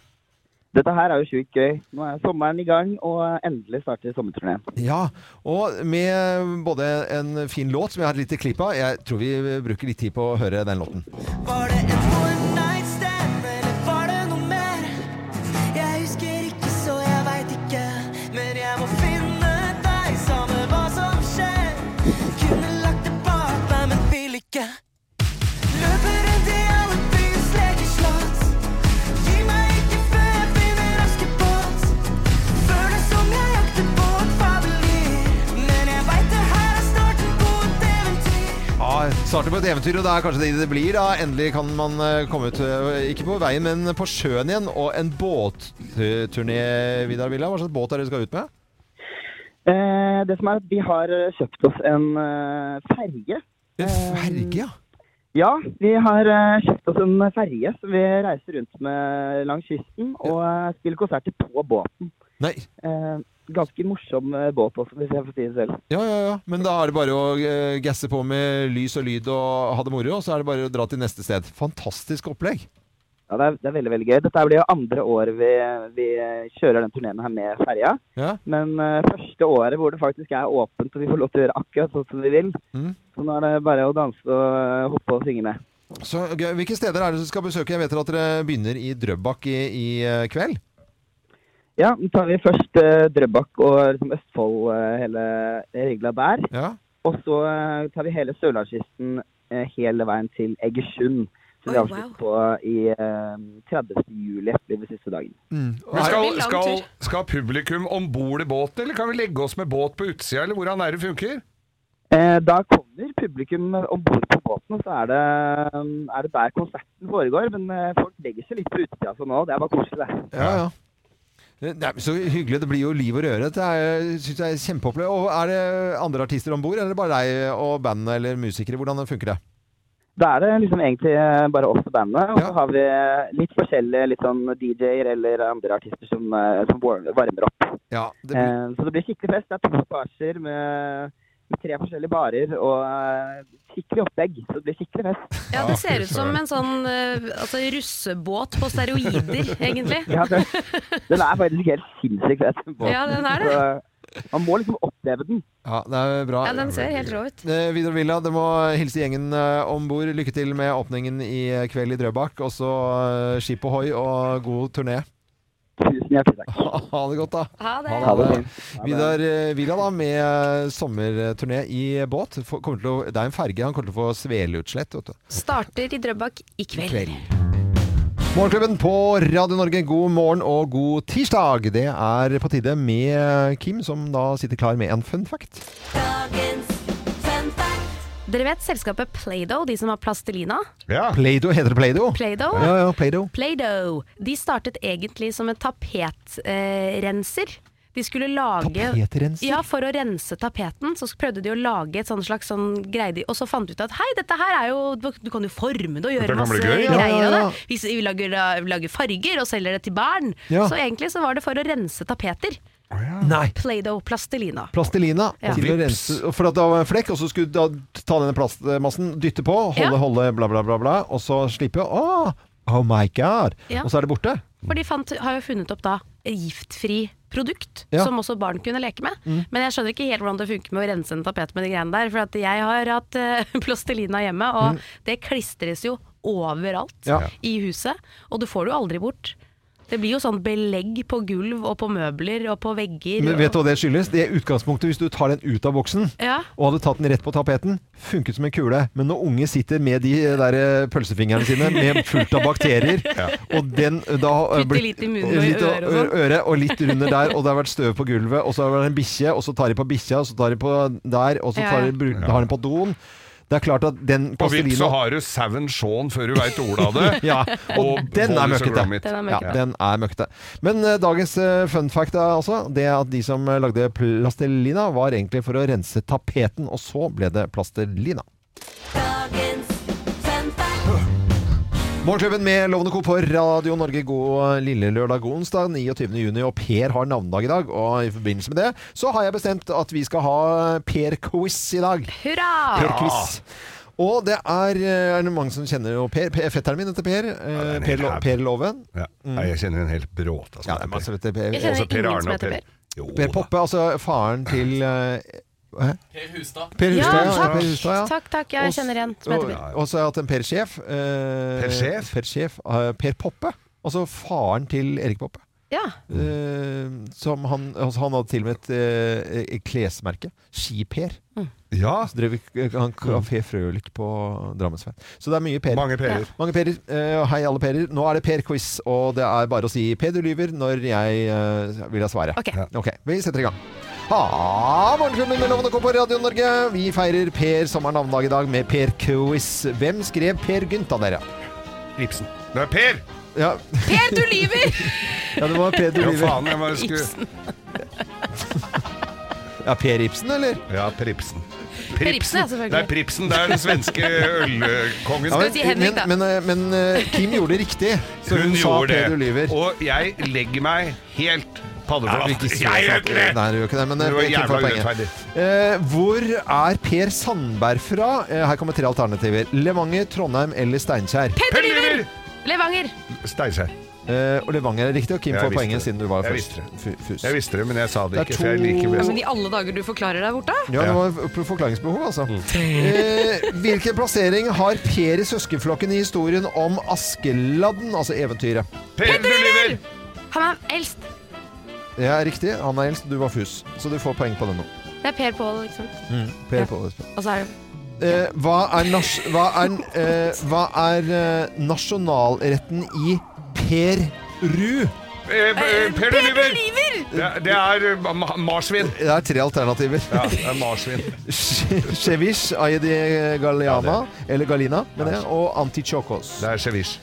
J: Dette her er jo sjukt gøy. Nå er sommeren i gang, og endelig starter sommerturneen.
A: Ja, og med både en fin låt som jeg har et lite klipp av. Jeg tror vi bruker litt tid på å høre den låten.
E: Var det en one night stand, eller var det noe mer? Jeg husker ikke, så jeg veit ikke. Men jeg må finne deg, samme hva som skjer. Kunne lagt det bak meg, men vil ikke. Løper rundt i alle byens lekeslott. Gi meg ikke før jeg finner Askepott. Føles som jeg jakter på et fabelir. Men jeg veit det her er starten på et eventyr.
A: Ja, Starter på et eventyr, og det er kanskje det det blir. da. Endelig kan man eh, komme ut, eh, ikke på veien, men på sjøen igjen. Og en båtturné, Vidar Villa. Hva slags båt er det du skal ut med?
J: Eh, det som er at vi har eh, kjøpt oss en eh, ferge. Eh,
A: En ferge, ja.
J: Ja, vi har eh, kjøpt oss en ferge som vi reiser rundt med langs kysten og eh, spiller konserter på båten.
A: Nei.
J: Eh, ganske morsom eh, båt også, hvis jeg får si det selv.
A: Ja, ja, ja. Men da er det bare å eh, gasse på med lys og lyd og ha det moro, og så er det bare å dra til neste sted. Fantastisk opplegg.
J: Ja, det er, det er veldig veldig gøy. Dette blir jo andre året vi, vi kjører den turneen her med ferja.
A: Ja.
J: Men eh, første året hvor det faktisk er åpent og vi får lov til å gjøre akkurat sånn som vi vil.
A: Mm.
J: Så nå er det bare å danse og eh, hoppe og synge med.
A: Så, gøy. hvilke steder er det du skal besøke? Jeg vet at dere begynner i Drøbak i, i eh, kveld.
J: Ja, nå tar vi først eh, Drøbak og liksom Østfold, eh, hele regla der.
A: Ja.
J: Og så eh, tar vi hele Sørlandskysten eh, hele veien til Egersund. Som vi
F: Oi,
J: avslutter på i eh, 30. juli, blir det siste dagen.
B: Men
F: Det
B: skal,
F: blir lang
B: skal,
F: tur.
B: skal publikum om bord i båten, eller kan vi legge oss med båt på utsida, eller hvordan er det funker?
J: Eh, da kommer publikum om bord på båten, og så er det, er det der konserten foregår. Men eh, folk legger seg litt på utsida sånn nå, det er bare koselig, det.
A: Ja, ja. Det det er så hyggelig. Det blir jo liv og røre. Det er- synes jeg er kjempeopplevelse. Og er det andre artister om bord, eller bare deg og bandet eller musikere? Hvordan funker det?
J: Da er det liksom egentlig bare oss og bandet, og
A: Ja.
J: så har vi eh, litt forskjellige litt sånn DJ-er eller andre artister som, eh, som var- varmer opp.
A: Ja, det blir...
J: Eh, så det blir skikkelig fest. Det er to etasjer med, med tre forskjellige barer og eh, skikkelig opplegg, så det blir skikkelig fest.
C: Ja, det ser ut som en sånn eh, altså, russebåt på
J: *laughs*
C: steroider, egentlig.
J: Ja, den, den er faktisk helt sinnssykt fett.
C: Ja, den er det.
J: Så man må liksom oppleve den.
A: ja det er bra.
C: Ja, den ser helt rå ut.
A: Eh, Vidar Villa, dere må hilse gjengen eh, om bord. Lykke til med åpningen i eh, kveld i Drøbak. Og så eh, skip ohoi og god turné.
J: Tusen hjertelig takk.
A: *laughs* Ha det godt, da.
C: Ha det.
J: Ha det.
A: Vidar eh, Villa da, med eh, sommerturné i båt. Får- Kommer til å, det er en ferge, han kommer til å få sveleutslett. vet du.
C: Starter i Drøbak i kveld.
A: Morgenklubben på Radio Norge, god morgen og god tirsdag. Det er på tide med Kim, som da sitter klar med en fun fact.
C: Dere vet selskapet Play-Doh, de som har plastelina?
B: Ja.
A: Play-Doh heter det Play-Doh?
C: Play-Doh?
A: Ja, ja, Play-Doh.
C: Play-Doh. De startet egentlig som en tapetrenser. De skulle lage
A: Tapetrenser?
C: Ja, for å rense tapeten. Så prøvde de å lage et sånn slags sånn greie, de- og så fant de ut at hei, dette her er jo Du kan jo forme det og
B: Dette
C: gjøre
B: kan
C: masse
B: bli gøy, ja.
C: greier av
A: Ja, ja,
C: det. Vi, vi, lager, da- vi lager farger og selger det til barn.
A: Ja.
C: Så egentlig så var det for å rense tapeter.
A: Nei!
C: Play-Doh plastelina.
A: Plastelina.
C: Ja.
A: Til å rense, for at det var en flekk, og så skulle du da ta denne plastmassen, dytte på, holde,
C: Ja.
A: holde, bla, bla, bla, bla, og så slippe. Åh, oh my god!
C: Ja.
A: Og så er det borte.
C: For de fant, har jo funnet opp da et giftfri produkt
A: Ja. Mm.
C: som også barn kunne leke med. Men jeg skjønner ikke helt hvordan det funker med å rense en tapet med de greiene der. For at jeg har hatt eh, *laughs* plastelina hjemme, og det klistres jo overalt
A: Mm. Ja.
C: i huset. Og du får det jo aldri bort. Det blir jo sånn belegg på gulv og på møbler og på vegger.
A: Men vet du
C: og,
A: hva det skyldes? Det utgangspunktet, hvis du tar den ut av boksen,
C: ja.
A: og hadde tatt den rett på tapeten, funket som en kule. Men når unge sitter med de der eh, pølsefingrene sine med fullt av
B: *laughs*
A: bakterier, og den eh, da eh,
C: Putter
A: blir-
C: litt i munnen og i
A: litt
C: øret og sånn.
A: øret, og litt under der, og det har vært støv på gulvet, og så har det vært en bikkje, og så tar de på bikkja, og så tar de på der, og så
C: Ja,
A: tar
C: ja.
A: de, bruk- har de på doen. Det er klart at den
B: På vipp så
A: plastelina
B: har du sauen Shaun før du veit ordet *laughs* av det.
A: ja, og,
E: *laughs*
B: Og
A: den er
B: Boris og
A: møkkete.
B: Gromit.
C: Den er
A: Ja,
C: møkkete.
A: den er møkkete. Men eh, dagens eh, fun fact er altså det at de som eh, lagde plastelina, var egentlig for å rense tapeten, og så ble det plastelina. *laughs* Morgenklubben med Lovende Co. på Radio Norge. God eh, lille lørdag, god onsdag 29. juni. Og Per har navnedag i dag, og i forbindelse med det så har jeg bestemt at vi skal ha Per-quiz i dag.
C: Hurra!
A: Per-quiz. Og det er, eh, er det mange som kjenner jo Per. Per- Fetteren min heter Per. eh,
B: det er en
A: per,
B: hel
A: Lo
B: haug.
A: per Loven.
B: Ja. Nei, jeg kjenner en hel bråta som
A: Ja, det er masse, vet du, altså. per,
C: Jeg kjenner
B: Også
C: ingen som
B: og
C: heter Per.
B: Jo
A: per
B: da.
A: Poppe, altså faren til eh, Hæ? Per Hustad. Ja,
C: Ja, takk,
A: per Hustad, ja.
C: takk, takk. Ja, jeg kjenner en som heter Per.
A: Og- Og så har jeg hatt en Per Sjef. eh,
B: Per Sjef?
A: Per, Sjef, eh, per Poppe. Altså faren til Erik Poppe.
C: Ja.
A: Eh, som han, altså han hadde til og med et, eh, et klesmerke. Skiper.
C: Mm.
B: Ja, Mm.
A: Så drev vi- eh, han Kafé Frølich på Drammensveien. Så det er mye Per.
B: mange Per-er.
A: Mange perer. Eh, hei, alle perer. Nå er det Per-quiz, og det er bare å si Per, du lyver, når jeg eh, vil ha svaret.
C: Ok.
A: Ja. ok. Vi setter i gang. Ha, Morgenklubben med Lovende Co. på Radio Norge. Vi feirer Per som har navnedag i dag med Per-quiz. Hvem skrev Per Gynt da, dere?
B: Ibsen. Det er Per!
A: Ja,
C: Per, du lyver!
A: *laughs* ja, det var Per du
B: Ja,
A: lyver.
B: faen, jeg bare skulle *laughs*
A: Ja, Per Ibsen, eller?
B: Ja, Per Ibsen.
C: Per Ibsen, ja, selvfølgelig.
B: Det er Pripsen. Det er den svenske ølkongen.
A: Ja,
C: vi si Henrik, da?
A: men, eh, men eh, Kim gjorde det riktig, så hun, sa
B: gjorde
A: Per
B: det.
A: du lyver.
B: Og jeg legger meg helt
A: Nei,
B: paddeflat.
A: ikke si
B: Jeg gjør
A: det.
B: ikke det!
A: Nei, du gjør ikke det, men eh,
B: Det var
A: Kim får
B: jævla
A: poenget.
B: urettferdig.
A: Eh, hvor er Per Sandberg fra? Eh, her kommer tre alternativer. Levanger, Trondheim eller Steinkjer.
C: Per, du lyver! Levanger.
B: Steinkjer.
A: Eh, og Levanger er riktig, og Kim
B: Jeg
A: får
B: visste
A: poenget
B: det.
A: siden du var
B: Jeg
A: først.
B: visste
A: Fu- Fus.
B: Jeg visste det, men jeg sa det
A: Det er
B: ikke, for jeg liker
A: to-
B: best
K: Men i Altså, alle dager du forklarer deg bort, da?
A: Ja, det var f- forklaringsbehov, altså.
B: Mm.
A: Eh, hvilken plassering har Per i søskenflokken i historien om Askeladden, altså eventyret?
B: Per, du lyver!
C: Han er eldst.
A: Det er riktig. Han er eldst, du var fus. Så du får poeng på den nå.
C: Det er Per Pål, ikke sant.
A: Per
C: Mm. Ja.
A: på det.
C: Og så er det
A: Eh, hva er, nas hva er, eh, hva er eh, nasjonalretten i Peru?
B: Eh, eh, Per, du lyver! Det, det er eh, ma- marsvin.
A: Det er tre alternativer.
B: Ja, det er marsvin.
A: Chevish Ayedi Galiana, eller Galina, mener jeg, og Antichokos.
B: Det er cheviche.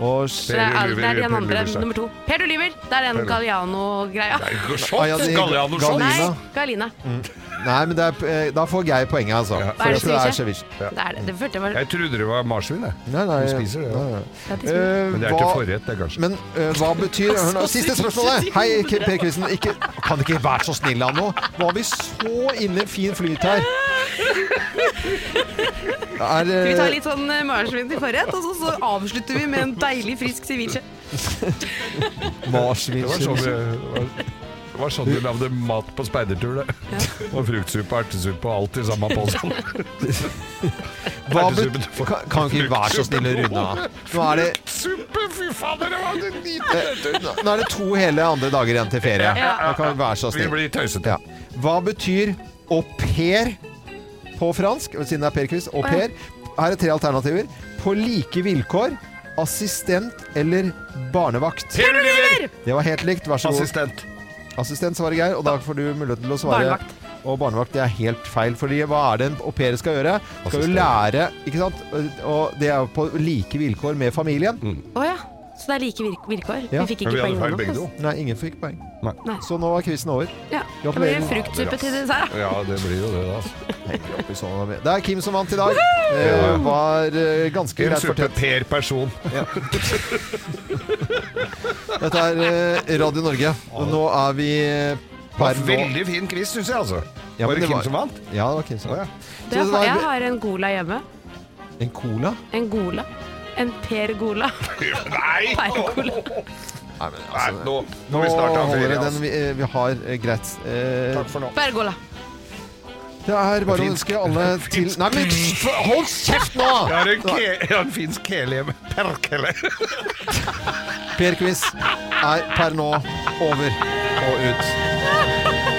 A: Og
C: Det
B: Per
C: er,
B: Lyver,
C: det er
B: Per
C: den andre,
B: Lyver, sa.
C: nummer to. Per du lyver! Det er
B: Per
C: den
B: Lyver.
C: Galliano-greia.
A: *laughs*
B: Shot, Galliano shot.
C: Nei,
A: Galina.
C: Galina.
A: Mm. Nei, men det er, eh, da får Geir poenget, altså.
B: Ja.
A: For at det er
C: Ceviche?
A: ceviche.
C: Det er det. Det følte jeg var
B: Jeg trodde det var marsvin, jeg.
A: Nei, nei,
B: Du spiser det, ja.
A: nei, nei.
C: Ja, det er
A: Eh,
B: Men det er til
A: hva,
B: forrett, det, kanskje.
A: men eh, hva betyr hør
K: *laughs*
A: nå, Siste spørsmålet! Hei, K- Per Kristian. Ikke, kan du ikke være så snill av nå? Var vi så inne i fin flyt
K: *laughs*
A: her? Er, eh,
K: Vi tar litt sånn eh, marsvin til forrett, og så, så avslutter vi med en deilig, frisk ceviche.
A: marsvin
B: Det var sånn, det var- det var sånn du lagde mat på speidertur, det. Og fruktsuppe og ertesuppe og alt i samme posen.
A: Hva
B: Ertesuppe,
A: bet-
B: du får-
A: kan, kan ikke være så snill å runde av? Nå er det Eh,
B: Suppe, fy fader, det var det lite!
A: Nå er det to hele andre dager igjen til ferie. Da kan vi være så
B: Vi
A: snill.
B: blir tøysete.
A: Ja. Hva betyr au pair på fransk? Siden det er Per-quiz. Au pair. Her er tre alternativer. På like vilkår, assistent eller barnevakt.
B: Per Oliver!
A: Det var helt likt. Vær så god.
B: Assistent.
A: Assistent svarer Geir, og da får du mulighet til å svare.
K: Barnevakt.
A: Og barnevakt, det er helt feil. Fordi hva er det en au pair skal gjøre? Skal jo
B: Assistent.
A: lære, ikke sant? Og det er jo på like vilkår med familien.
B: Mm.
C: Å ja. Så det er like virk vilkår.
A: Ja.
C: Vi fikk
B: Men
C: ikke
B: vi hadde
C: poeng nå.
B: feil
C: altså.
B: begge to.
A: Nei, ingen fikk poeng.
B: Nei.
A: Så nå er quizen over.
C: Ja. Det blir
A: Gratulerer.
C: en fruktsuppe til dessert. da.
B: Ja, det blir jo det, da. altså.
A: Henger opp i sånn. Det er Kim som vant i dag. Eh, var eh, ganske
B: En
A: greit
B: suppe
A: fortjent.
B: per person.
A: Dette er eh, Radio Norge. Og nå er vi eh,
B: Var
A: per nå
B: Veldig fin quiz, syns jeg, altså.
A: Ja, men
B: var det
A: det
B: Kim
A: var-
B: som vant?
A: Ja, det var Kim som
B: Å, ja.
A: vant. Så
C: Jeg
A: det
C: har- Jeg
A: var
C: har en Gola hjemme.
A: en cola.
C: En Gola. En Per Gola.
B: *laughs* Nei!
A: Nei, men
B: Nei,
A: altså, nå
B: nå, nå vi snart av
A: holder
B: ferie,
A: det den
B: altså.
A: vi, eh, vi har. eh, greit. Eh,
B: Takk for nå.
C: Per
B: *laughs*
C: Gola.
A: det er bare å
B: Fint.
A: ønske
B: *laughs*
A: alle til Nei, men f- hold kjeft nå!
B: Jeg har en, ke jeg har en finsk kele hjemme.
A: *laughs*
B: Perkele.
A: Per-quiz er per nå over og ut.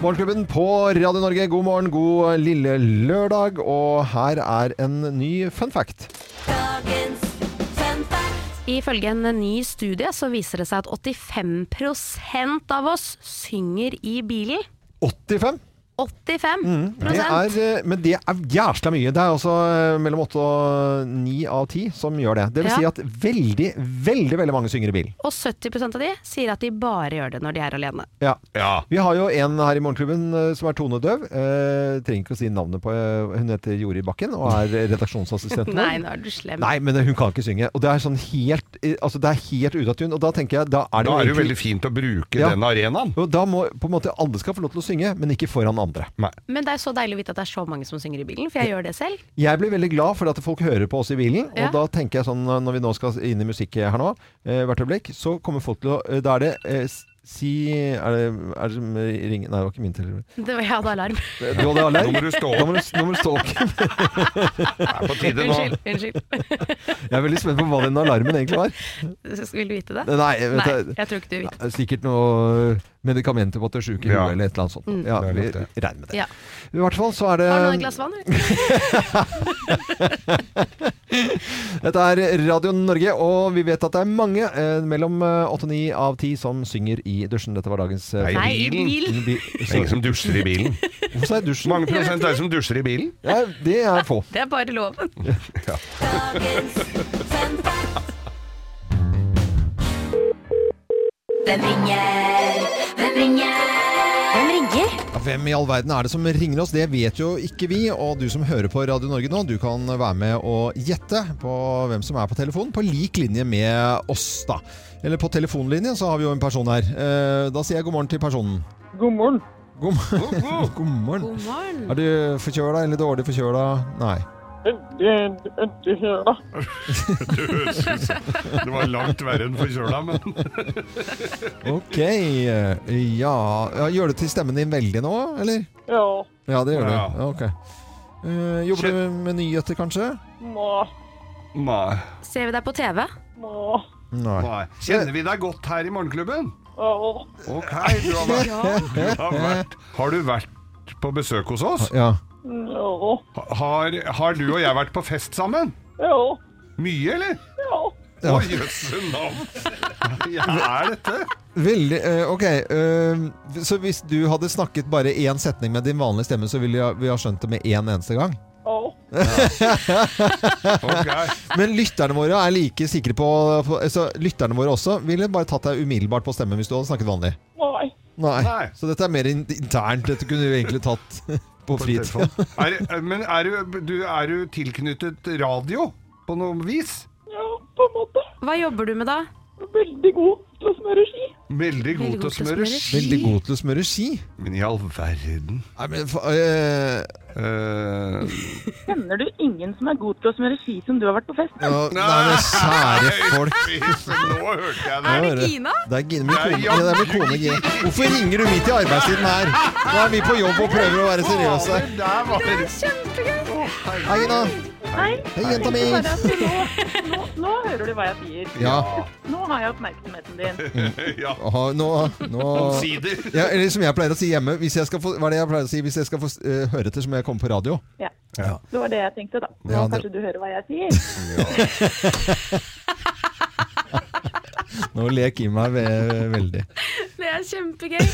A: Morgenklubben på Radio Norge, god morgen, god lille lørdag. Og her er en ny fun fact.
E: Dagens fun fact.
C: Ifølge en ny studie så viser det seg at 85 av oss synger i bilen.
A: 85.
C: 85
A: Det er, eh, men det er jævla mye. Det er også eh, mellom 8 og 9 av 10 som gjør det. Det vil
C: Ja.
A: si at veldig, veldig veldig mange synger i bil.
C: Og 70 av de sier at de bare gjør det når de er alene.
A: Ja.
B: Ja.
A: Vi har jo en her i Morgenklubben eh, som er tonedøv. Eh, trenger ikke å si navnet på eh, Hun heter Jori Bakken og
C: *laughs*
A: er redaksjonsassistenten
C: Nei,
A: vår.
C: nå er du slem.
A: Nei, men hun kan ikke synge. Og det er sånn helt eh, Altså, det er helt ute av tune. Og da tenker jeg Da er det,
B: Da er det jo
A: egentlig-
B: veldig fint å bruke
A: Ja.
B: den arenaen.
A: og da må på en måte alle skal få lov til å synge, men ikke foran andre.
C: Men det er så deilig å vite at det er så mange som synger i bilen, for jeg gjør det selv.
A: Jeg blir veldig glad for at folk hører på oss i bilen,
C: Ja.
A: og da tenker jeg sånn eh, når vi nå skal inn i musikk her nå, eh, hvert øyeblikk, så kommer folk til å eh, Da er det eh, s- si Er det, er det som ringer Nei, det var ikke min telefon.
C: Det var, jeg hadde alarm.
A: Du hadde
B: Nå
A: alarm?
B: må du stå
A: Nå
B: opp.
A: må du, nå må du stå opp.
B: *laughs* Det er på tide nå.
C: Unnskyld. unnskyld.
A: Jeg er veldig spent på hva den alarmen egentlig var.
C: Vil du vite det?
A: Nei,
C: Nei,
A: vet du,
C: jeg tror ikke du vil vite det.
A: sikkert noe medikamenter på at du er sjuk i
B: Ja.
A: huet eller et eller annet sånt.
C: Mm.
A: Ja,
B: Det er
A: vi
B: nok det.
A: regner med det.
C: Ja.
A: I hvert fall så er det
C: Har du noen glass vann? eller?
A: *laughs* Dette er Radio Norge, og vi vet at det er mange, eh, mellom eh, åtte og ni av ti, som synger i dusjen. Dette var dagens eh,
B: Nei, i bilen.
C: bilen.
A: Bi-
B: Det er ingen som dusjer liksom, i bilen.
A: Hvorfor sa jeg
B: Hvor
A: dusjen?
B: mange prosent er det som dusjer i bilen?
A: Ja, det er
B: *laughs*
A: få.
C: Det er bare loven.
E: Dagens fun fact. Hvem ringer? Hvem ringer? Hvem ringer?
A: Ja, Hvem i all verden er det som ringer oss? Det vet jo ikke vi. Og du som hører på Radio Norge nå, du kan være med og gjette på hvem som er på telefonen, på lik linje med oss, da. Eller på telefonlinjen så har vi jo en person her. Eh, Da sier jeg god morgen til personen.
J: God morgen.
A: *laughs* God, mo- god morgen.
C: God morgen.
A: Er du forkjøla eller dårlig forkjøla? Nei.
L: Øddehøla.
B: *laughs* Du høres ut som- Det var langt verre enn forkjøla, men
A: Ok. Ja. ja Gjør det til stemmen din veldig nå, eller?
L: Ja.
A: Ja, det gjør det.
B: Ja.
A: Ja, ok. Eh, jobber du med nyheter, kanskje?
L: Må.
B: Nei.
C: Ser vi deg på TV?
L: Må.
B: Nei. Kjenner vi deg godt her i Morgenklubben?
L: Ja.
B: Ok, du har vært, du har vært Har du vært på besøk hos oss?
A: Ja.
L: Ja.
B: Har, har du og jeg vært på fest sammen?
L: Ja.
B: Mye, eller?
L: Ja.
B: Å, jøsse navn! Hva er dette?
A: Veldig eh, Ok. eh, så hvis du hadde snakket bare én setning med din vanlige stemme, så ville jeg- vi ha skjønt det med én eneste gang?
L: Ja.
A: *laughs* Men lytterne våre er like sikre på, på altså, Lytterne våre også ville bare tatt deg umiddelbart på stemmen hvis du hadde snakket vanlig.
L: Nei.
A: Nei.
B: Nei.
A: Så dette er mer in internt. Dette kunne du egentlig tatt *laughs* på fritida.
B: Er, men er du, du, er du tilknyttet radio på noe vis?
C: Hva jobber du med da?
L: Veldig god til å smøre ski.
B: Veldig god til å smøre ski.
A: Veldig god til å smøre ski.
B: Men i all verden
A: Nei, men eh,
B: Eh.
L: Kjenner du ingen som er god til å smøre ski som du har vært på fest med?
A: Ja, nei, men sære
B: *laughs*
A: folk.
B: Nå hørte jeg det.
A: Nå hører- Det er Gina, min kone. Ja, det er min kone Gina. Hvorfor ringer du midt i arbeidstiden her? Nå er vi på jobb og prøver å være seriøse.
B: Det
L: er kjempegøy.
A: Hei, Gina.
L: Hei.
A: Hei, jenta mi.
L: Jeg tenkte bare at Nå,
E: *laughs*
L: nå, nå hører du hva jeg sier.
A: Ja.
L: Nå har jeg oppmerksomheten din.
B: Ja.
A: Aha, Nå, nå
B: Omsider.
A: ja, Eller som jeg pleier å si hjemme hvis jeg skal få, Hva er det jeg pleier å si? Hvis jeg skal få eh, høre etter, så må jeg komme på radio.
L: Ja.
A: Ja.
L: Det var det jeg tenkte, da. Nå
A: Ja, det-
L: kanskje du hører hva jeg sier.
A: *laughs* Nå ler Kim meg ve veldig. *laughs*
C: Det er kjempegøy.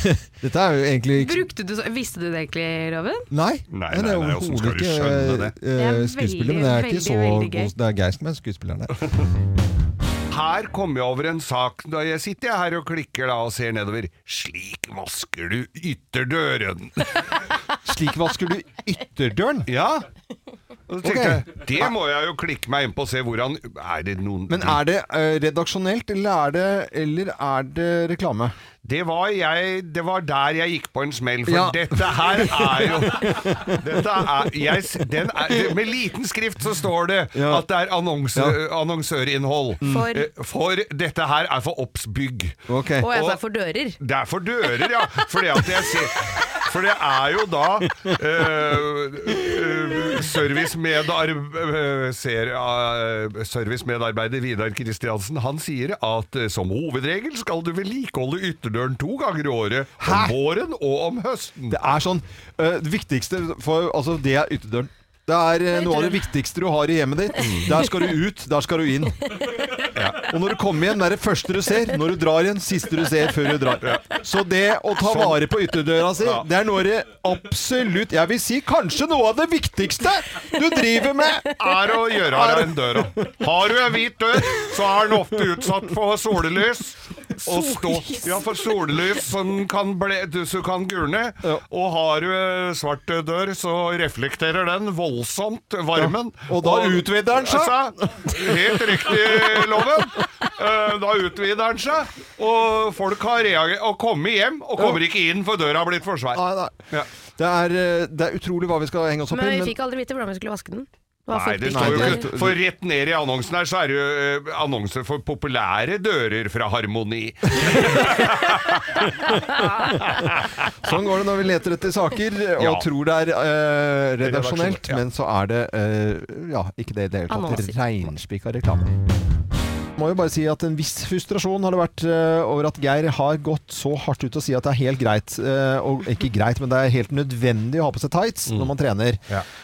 A: Dette er jo egentlig ikke
C: Brukte du så, visste du det egentlig, Loven?
A: Nei,
B: nei,
A: det er
B: nei, hvordan
A: overhodet
B: skal du
A: ikke
B: skjønne det?
A: eh,
B: Det er veldig,
A: skuespiller, men det er ikke
C: veldig,
A: så
C: veldig gøy.
A: god Det er Geir som er skuespilleren
B: *laughs*
A: der.
B: Her kommer jeg over en sak da jeg sitter her og klikker da og ser nedover. Slik vasker du ytterdøren.
A: *laughs* Slik vasker du ytterdøren?
B: Ja. Og så
A: Ok.
B: tenkte jeg, det må jeg jo klikke meg inn på og se hvordan Er det noen
A: Men er det eh, redaksjonelt, eller er det, eller er det reklame?
B: Det var, jeg, det var der jeg gikk på en smell, for
A: Ja.
B: dette her er jo dette er, jeg, s- den er, Med liten skrift så står det at det er annonse, annonsørinnhold.
C: For?
B: Eh, for dette her er for Obs-bygg.
A: Okay.
C: Og jeg sa for dører.
B: Det er for dører, ja. Fordi at jeg ser for det er jo da eh, eh, servicemedar- eh, ser, eh, servicemedarbeider Vidar Kristiansen Han sier at eh, som hovedregel skal du vedlikeholde ytterdøren to ganger i året. Om våren og om høsten.
A: Det er sånn eh, Det viktigste for Altså, det er ytterdøren. Det er eh, noe av det viktigste du har i hjemmet ditt. Der skal du ut, der skal du inn. Og når du kommer hjem, det er det første du ser. Når du drar igjen, siste du ser før du drar. Så det å ta vare på ytterdøra si, det er noe av det absolutt Jeg vil si kanskje noe av det viktigste du driver med.
B: Er å gjøre av den døra. Har du en hvit dør, så er den ofte utsatt for sollys. Og stå, ja, for sollys som kan, ble, som kan gulne. Og har du eh, svart dør, så reflekterer den voldsomt varmen.
A: Og da utvider den seg.
B: Altså, Helt riktig, Loven. Eh, Da utvider den seg, og folk har reager- og kommet hjem og kommer ikke inn, for døra har blitt for svær.
A: Nei, nei. Det er, eh, det er utrolig hva vi skal henge oss opp i.
C: Men vi fikk aldri vite hvordan vi skulle vaske den. Det var
B: Nei, det
C: fuktig.
B: står jo
A: Nei,
B: ikke
A: det-
B: For rett ned i annonsen her så er det jo eh, annonser for populære dører fra Harmoni.
A: Sånn går det når vi leter etter saker og
B: Ja.
A: tror det er eh, redaksjonelt,
B: Redaksjonelt, ja.
A: men så er det eh, ja, ikke det i det hele tatt.
B: Annonser.
A: Reinspikka reklame. Må jo bare si at En viss frustrasjon har det vært eh, over at Geir har gått så hardt ut og si at det er helt greit, eh, og ikke greit, men det er helt nødvendig å ha på seg tights
B: Mm.
A: når man trener.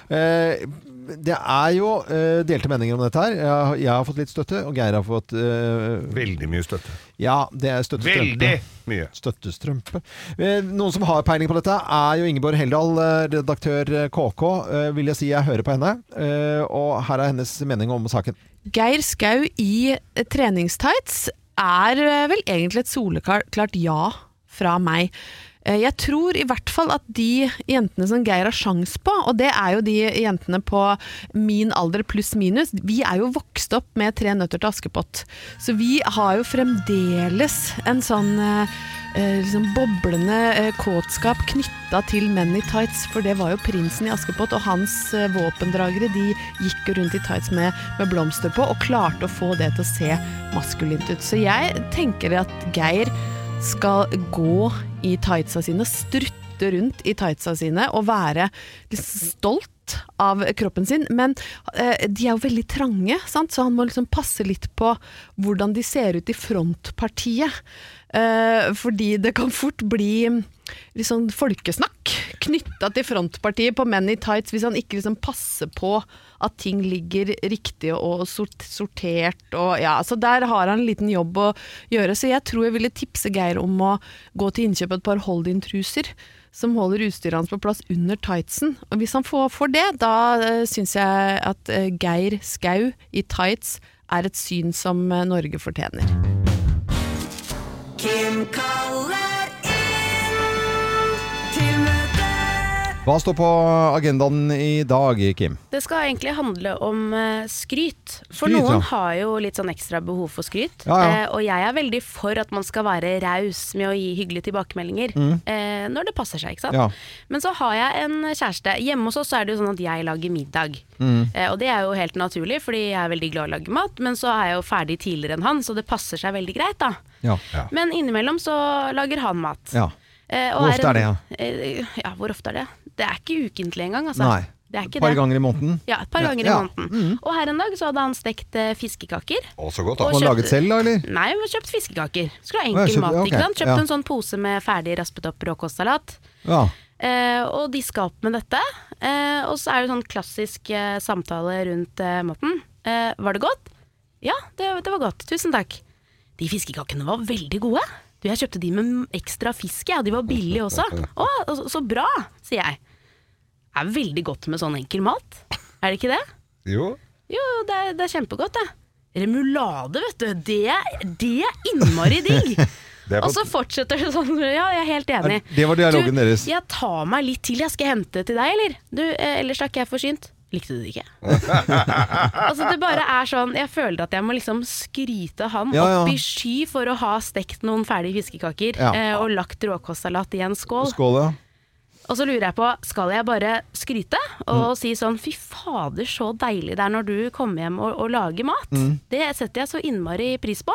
A: Eh, det er jo eh, delte meninger om dette her. Jeg, har- jeg har fått litt støtte, og Geir har fått eh,
B: Veldig mye støtte.
A: Ja, det er støttestrømpe.
B: Veldig mye.
A: Støttestrømpe. Eh, Noen som har peiling på dette, er jo Ingeborg Heldal, eh, redaktør eh, KK. Eh, Vil jeg si jeg hører på henne. Eh, Og her er hennes mening om saken.
M: *laughs* Geir Skau i eh, treningstights er eh, vel egentlig et soleklart ja fra meg. Eh, Jeg tror i hvert fall at de jentene som Geir har sjans på, og det er jo de jentene på min alder pluss minus, vi er jo vokst opp med Tre nøtter til Askepott. Så vi har jo fremdeles en sånn eh, eh, liksom boblende eh, kåtskap knytta til menn i tights, for det var jo prinsen i Askepott, og hans eh, våpendragere de gikk jo rundt i tights med, med blomster på, og klarte å få det til å se maskulint ut. Så jeg tenker at Geir skal gå i tightsa sine, strutte rundt i tightsa sine og være liksom stolt av kroppen sin, men eh, de er jo veldig trange, sant? så han må liksom passe litt på hvordan de ser ut i frontpartiet. Eh, fordi det kan fort bli litt sånn folkesnakk knytta til frontpartiet på menn i tights, hvis han ikke liksom passer på at ting ligger riktig og sort sortert. Og, ja, så der har han en liten jobb å gjøre. Så jeg tror jeg ville tipse Geir om å gå til innkjøp av et par hold-in-truser. Som holder utstyret hans på plass under tightsen. Og hvis han får, får det, da uh, syns jeg at eh, Geir Skau i tights er et syn som eh, Norge fortjener.
E: Kim kaller inn til møte.
A: Hva står på agendaen i dag, Kim?
C: Det skal egentlig handle om eh, skryt. For
A: Skryt,
C: noen
A: ja.
C: har jo litt sånn ekstra behov for skryt.
A: Ja, ja.
C: Eh, og jeg er veldig for at man skal være raus med å gi hyggelige tilbakemeldinger.
E: Mm.
C: Eh, når det passer seg, ikke sant.
E: Ja.
C: Men så har jeg en kjæreste. Hjemme hos oss så er det jo sånn at jeg lager middag.
A: Mm.
C: Eh, Og det er jo helt naturlig, fordi jeg er veldig glad i å lage mat, men så er jeg jo ferdig tidligere enn han, så det passer seg veldig greit, da.
A: Ja.
C: Men innimellom så lager han mat.
A: ja.
C: Eh, og
A: Hvor ofte er det,
C: en- eh, Ja, hvor ofte er det? Det er ikke ukentlig engang, altså.
A: Nei.
C: Det er ikke
A: Par
C: det.
A: ganger i måneden?
C: Ja, et par
A: Ja.
C: ganger
A: Ja. Mm.
C: i måneden. Og her en dag så hadde han stekt eh, fiskekaker.
A: Å, så godt,
C: Og
A: Var den
C: kjøpt-
A: laget selv, da, eller?
C: Nei, vi har kjøpt fiskekaker. Skulle ha
A: Å,
C: enkel
A: ja, kjøpt-
C: mat,
A: ja, ok,
C: ikke sant. Kjøpte
A: ja.
C: en sånn pose med ferdig raspet opp råkostsalat.
A: Ja.
C: Eh, og de skal opp med dette. Eh, og så er det sånn klassisk eh, samtale rundt eh, maten. Eh, var det godt? Ja, det, det var godt. Tusen takk. De fiskekakene var veldig gode. Du, jeg kjøpte de med m- ekstra fisk, jeg, og de var billige også. Å, så, så bra, sier jeg. Det er veldig godt med sånn enkel mat. Er det ikke det?
B: Jo.
C: Jo, det er, det er kjempegodt, det. Remulade, vet du. Det, er- det er innmari digg.
A: *laughs* Det er på-
C: Og så fortsetter det sånn. Ja, jeg er helt enig.
A: Er- det var dialogen
C: du,
A: deres.
C: Jeg tar meg litt til. Jeg skal hente til deg, eller? Du, eh, ellers er ikke jeg forsynt. Likte du det ikke? Altså, det bare er sånn Jeg føler at jeg må liksom skryte han
A: Ja, ja.
C: opp i sky for å ha stekt noen ferdige fiskekaker
A: Ja.
C: eh, og lagt råkostsalat i en skål.
A: Skål, ja.
C: Og så lurer jeg på, skal jeg bare skryte
A: Mm.
C: og si sånn fy fader så deilig det er når du kommer hjem og, og lager mat.
A: Mm.
C: Det setter jeg så innmari pris på.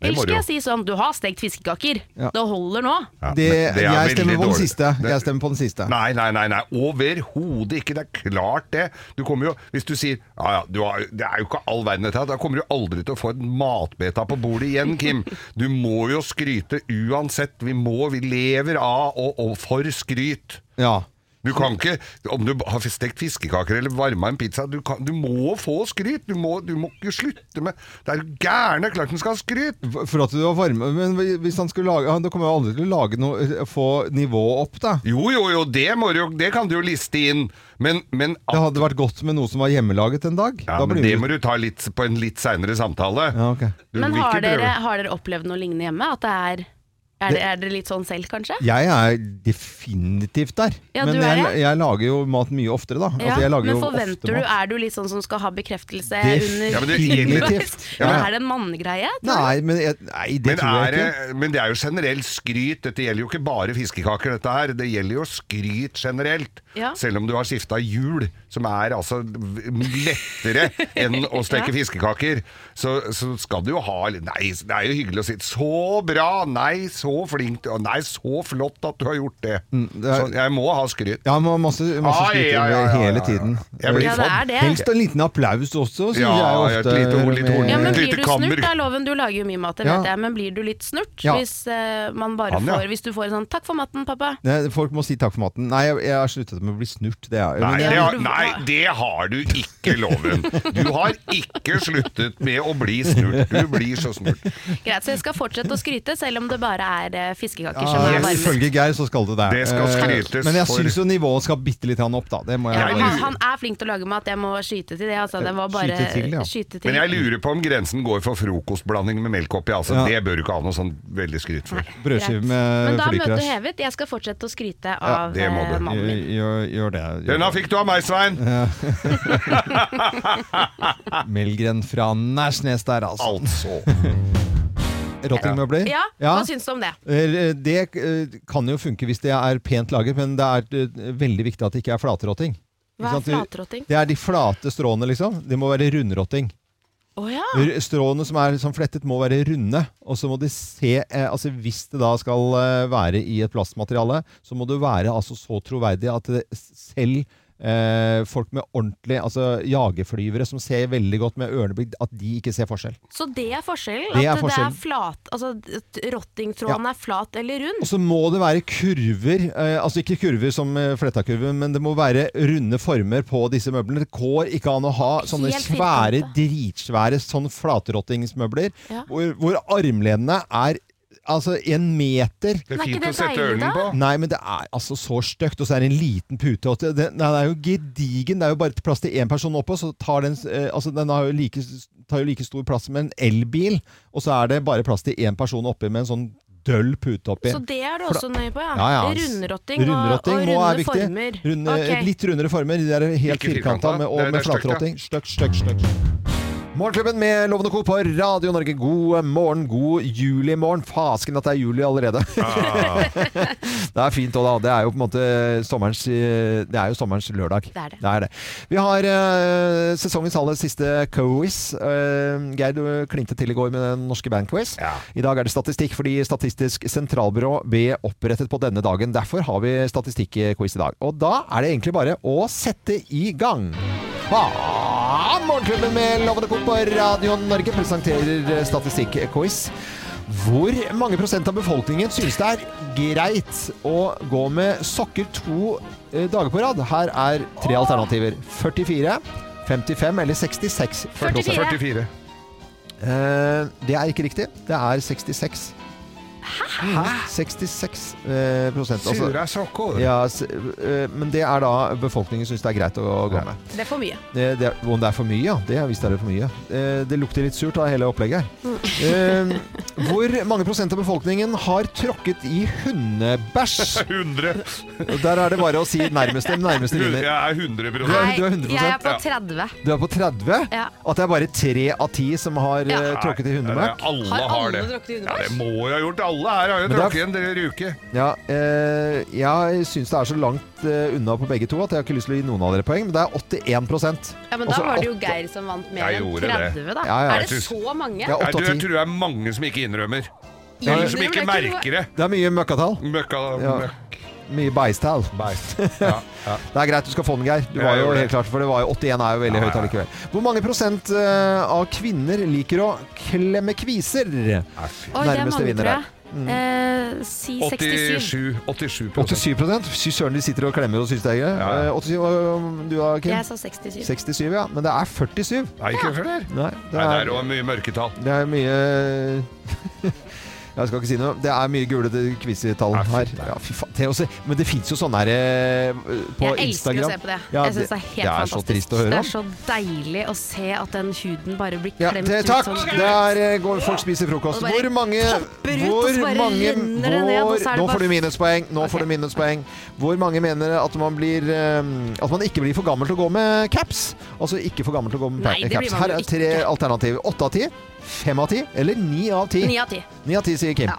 A: Det
C: Eller
A: må du
C: skal
A: jo.
C: jeg si sånn du har stekt fiskekaker,
A: Ja.
C: det holder nå.
A: Det,
B: men det er
A: jeg stemmer
B: veldig
A: på den
B: dårlig.
A: siste. Jeg stemmer på den siste.
B: Nei, nei, nei, nei. overhodet ikke. Det er klart det. Du kommer jo, Hvis du sier ja, ja, du har, det er jo ikke all verden dette her, da kommer du aldri til å få en matbeta på bordet igjen,
A: *laughs*
B: Kim. Du må jo skryte uansett. Vi må, vi lever av og, og for skryt.
A: Ja.
B: Du kan ikke, Om du har stekt fiskekaker eller varma en pizza Du, kan, du må få skryt! Du må, du må ikke slutte med Det er jo gærne klart den skal ha skryt!
A: For- For at du var varm Men hvis han skulle lage Han kommer jo aldri til å lage noe eh, Få nivået opp, da.
B: Jo, jo, jo, det, må du, jo- det kan du jo liste inn, men, men
A: Det hadde vært godt med noe som var hjemmelaget en dag.
B: Ja,
A: Da
B: men
A: blir
B: det
A: vi-
B: må du ta litt, på en litt seinere samtale. Du
C: Men
B: vil
C: har
B: ikke prøve.
C: dere, har dere opplevd noe lignende hjemme? At det er er, det, er dere litt sånn selv, kanskje?
A: Jeg er definitivt der.
C: Ja,
A: men
C: du er
A: jeg,
C: det.
A: jeg lager jo mat mye oftere, da.
C: Ja,
A: altså, jeg lager
C: men
A: jo ofte
C: forventer du,
A: mat.
C: er du litt sånn som skal ha bekreftelse
A: Definitivt.
C: under
A: Ja, men det gjelder-
C: *laughs*
A: Ja, men-
C: Er det en mannegreie?
A: Nei, men jeg, nei, det
B: men,
A: tror
B: er,
A: jeg ikke.
B: det- men det er jo generelt skryt. Dette gjelder jo ikke bare fiskekaker, dette her. Det gjelder jo skryt generelt.
E: Ja.
B: Selv om du har skifta hjul, som er altså v- lettere
C: *laughs*
B: enn å steke
E: Ja.
B: fiskekaker, så, så skal du jo ha litt- Nei, det er jo hyggelig å si 'så bra', 'nei, så flink', og 'nei, så flott at du har gjort det'. Så jeg må ha skryt.
A: Mm, Ja, man har masse, masse
B: Ah,
A: skryt
B: ja, ja, ja,
A: hele
B: ja, ja.
A: tiden.
B: Jeg blir sånn.
C: Ja, det er det.
A: Helst en liten applaus også, syns
B: Ja,
A: jeg
B: ja, et
A: ofte.
B: lite ord, litt ord.
A: med-
B: Ja,
C: Men
B: Et
C: blir
B: lite
C: du
B: kammer.
C: snurt, da, Loven? Du lager jo mye mat, det
A: Ja.
C: vet jeg. Men blir du litt snurt
A: Ja.
C: hvis eh, man bare
A: Han, ja.
C: får Hvis du får en sånn 'takk for maten, pappa'?
A: Nei, folk må si takk for maten. Nei, jeg, jeg har sluttet med å bli snurt. Det er,
B: Nei
A: men
B: det,
A: jeg-
B: har, nei, det har du ikke, Loven. Du har ikke sluttet med å bli snurt. Du blir så snurt.
C: Greit, så jeg skal fortsette å skryte, selv om det bare er eh, fiskekaker som
A: Ja,
C: er varmest.
A: ifølge Geir så skal det det.
B: Det skal
A: Eh,
B: skrytes
A: Men jeg
B: for-
A: syns jo nivået skal bitte litt grann opp, da. Det må jeg
C: Ja, han, han er flink til å lage mat, jeg må skyte til det. Altså, det var bare
B: Skyte til, ja.
C: skyte til.
B: Men jeg lurer på om grensen går for frokostblanding med melk oppi. Altså. Det bør du ikke ha noe sånn veldig skryt for.
A: Brødskive med
C: Men da er møtet
A: flykrasj.
C: hevet. Jeg skal fortsette å skryte
B: Ja,
C: av
B: det må
C: eh,
B: du.
C: mannen min.
A: Gjør, gjør det. Gjør
B: Denne fikk du av meg, Svein!
A: Melgren fra Nærsnes der, altså.
B: Altså.
A: *laughs* Rottingmøbler?
C: Ja,
A: Ja.
C: hva syns du om det?
A: Eh, Det eh, kan jo funke hvis det er pent laget, men det er eh, veldig viktig at det ikke er flatrotting. Ikke
C: Hva er
A: sant? Du-
C: flatrotting?
A: Det er de flate stråene, liksom. De må være rundrotting.
C: Å ja.
A: R- Stråene som er sånn flettet, må være runde. Og så må de se eh, altså Hvis det da skal eh, være i et plastmateriale, så må du være altså så troverdig at det, selv eh, folk med ordentlig altså jagerflyvere som ser veldig godt med ørene, at de ikke ser forskjell.
C: Så det er forskjellen?
A: Det er
C: at det
A: forskjellen.
C: er flat, altså at rottingtråden
A: Ja.
C: er flat eller rund?
A: Og så må det være kurver, eh, altså ikke kurver som eh, fletta-kurver, men det må være runde former på disse møblene. Det går ikke an å ha sånne
N: Helt
A: svære, dritsvære sånn flatrottingsmøbler,
N: Ja.
A: hvor, hvor armlenene er Altså en meter
B: Det er Men er fint ikke det å sette deilig, ørnen da? på.
A: Nei, men det er altså så støkt Og så er det en liten pute og det, det, nei, det er jo gedigen, det er jo bare plass til en person oppå Så tar den, eh, altså den har jo like, tar jo like stor plass som en elbil Og så er det bare plass til en person oppi Med en sånn døll pute oppi
C: Så det er du
A: For da-
C: også nøye på, ja?
A: ja, ja.
C: Rundrotting,
A: Rundrotting
C: og, og
A: må
C: runde
A: er viktig.
C: former.
A: Runde,
C: Ok.
A: Litt rundere former. De er *laughs* helt
B: Ikke
A: firkanta
B: firkantet.
A: med,
B: Det
A: og
B: er-
A: med
B: det er støkt, ja.
A: flatrotting. Støkk, støkk, støkk. Morgenklubben med Loven og Co. på Radio Norge. God morgen, god julimorgen. Fasken at det er juli allerede.
B: Ah.
A: *laughs* det er fint òg, da. Det er jo på en måte sommerens eh, Det er jo sommerens lørdag.
C: Det er det.
A: Vi har eh, sesongens aller siste quiz. Eh, Geir, du klinte til i går med den norske bandquiz. I dag er det statistikk fordi Statistisk sentralbyrå ble opprettet på denne dagen. Derfor har vi statistikkquiz i dag. Og da er det egentlig bare å sette i gang. Ah, Morgenklubben med Lovende Co. på Radio Norge presenterer eh, statistikkquiz. Hvor mange prosent av befolkningen synes det er greit å gå med sokker to eh, dager på rad? Her er tre alternativer. 44, 55 eller 66
B: 44. 44.
A: Eh, det er ikke riktig. Det er 66. Hæ? 66 eh, prosent.
B: Sura sokker.
A: Ja, s eh, men det er da befolkningen syns det er greit å, gå med.
C: Det er for mye.
A: Det, det, er- om det er for mye, ja. Det er visst er det for mye. Eh, det lukter litt surt av hele opplegget.
C: Mm.
A: her. Eh, hvor mange prosent av befolkningen har tråkket i
B: *laughs*
A: hundebæsj?
B: 100.
A: Der er det bare å si nærmeste. Nærmeste vinner.
B: Jeg er
A: Du
B: 100
A: er, du er 100
C: jeg er på
A: Ja.
C: 30.
A: Du er på 30?
C: Ja.
A: At det er bare tre av ti som har
C: Ja.
A: eh, tråkket i hundemøkk?
B: Ja, Alle har, det. Ja, det må jo ha gjort. Alle her har jo
A: Men det er-
B: drukket en del uke.
A: Ja, eh, jeg syns det er så langt eh, unna på begge to at jeg har ikke lyst til å gi noen av dere poeng, men det er 81
C: Ja, men da
A: Også
C: var det jo
A: åtte-
C: Geir som vant mer
B: Jeg
C: enn
B: gjorde det.
C: 30,
A: Ja,
C: da.
A: ja.
C: Er det
B: Jeg synes-
C: så mange?
A: Ja,
B: Nei,
A: åtte av
B: du, jeg
A: ti.
B: tror det er mange som ikke innrømmer. Eller som
C: Innrømmer
B: ikke
C: det ikke,
B: merker det.
A: Det er mye møkkatall.
B: Møkka,
A: Ja.
B: møkka.
A: Mye beistall. *laughs* Det er greit, du skal få den, Geir. Du
B: Ja,
A: var
B: jeg
A: jo
B: gjorde
A: helt klart, for det var jo 81 er jo veldig
B: Ja,
A: høyt
B: ja, ja.
A: allikevel. Hvor mange prosent eh, av kvinner liker å klemme kviser?
C: Oi, det er mange,
A: Nærmeste Mm. vinner her.
C: tror jeg. Eh, si 67.
B: 87
A: 87 Fy søren, de sitter og klemmer og syns det er gøy. Eh, 87, hva- du da, Kim?
C: Jeg sa 67.
A: 67, ja. Men det er 47.
B: Nei, ikke for det.
A: Nei,
B: Nei, det er jo mye mørketall.
A: Det er mye *laughs* Jeg skal ikke si noe. Det er mye gulete kvisetall her. Ja, fy faen. Det er også, men det fins jo sånne her eh, på
C: jeg elsker
A: Instagram.
C: å se på det.
A: Ja,
C: jeg synes det er helt
A: det er så
C: fantastisk.
A: trist å høre om.
C: det er så deilig å se at den huden bare blir
A: Ja,
C: klemt
A: det,
C: ut
A: takk!
C: sånn.
A: Der eh, går folk spiser
C: Og
A: frokost.
C: bare
A: Hvor mange
C: ut, og
A: hvor
C: så bare
A: mange,
C: renner det ned, og så er
A: hvor,
C: det
A: Nå
C: bare-
A: får du minuspoeng. Nå får du minuspoeng. Hvor mange mener at man blir eh, At man ikke blir for gammel til å gå med caps? Altså ikke for gammel til å gå med
C: Nei, det blir
A: caps.
C: man
A: Her
C: jo
A: er tre alternativer. Åtte av ti, fem av ti eller ni av ti?
C: Ni av ti.
A: Ni av ti, sier Kim.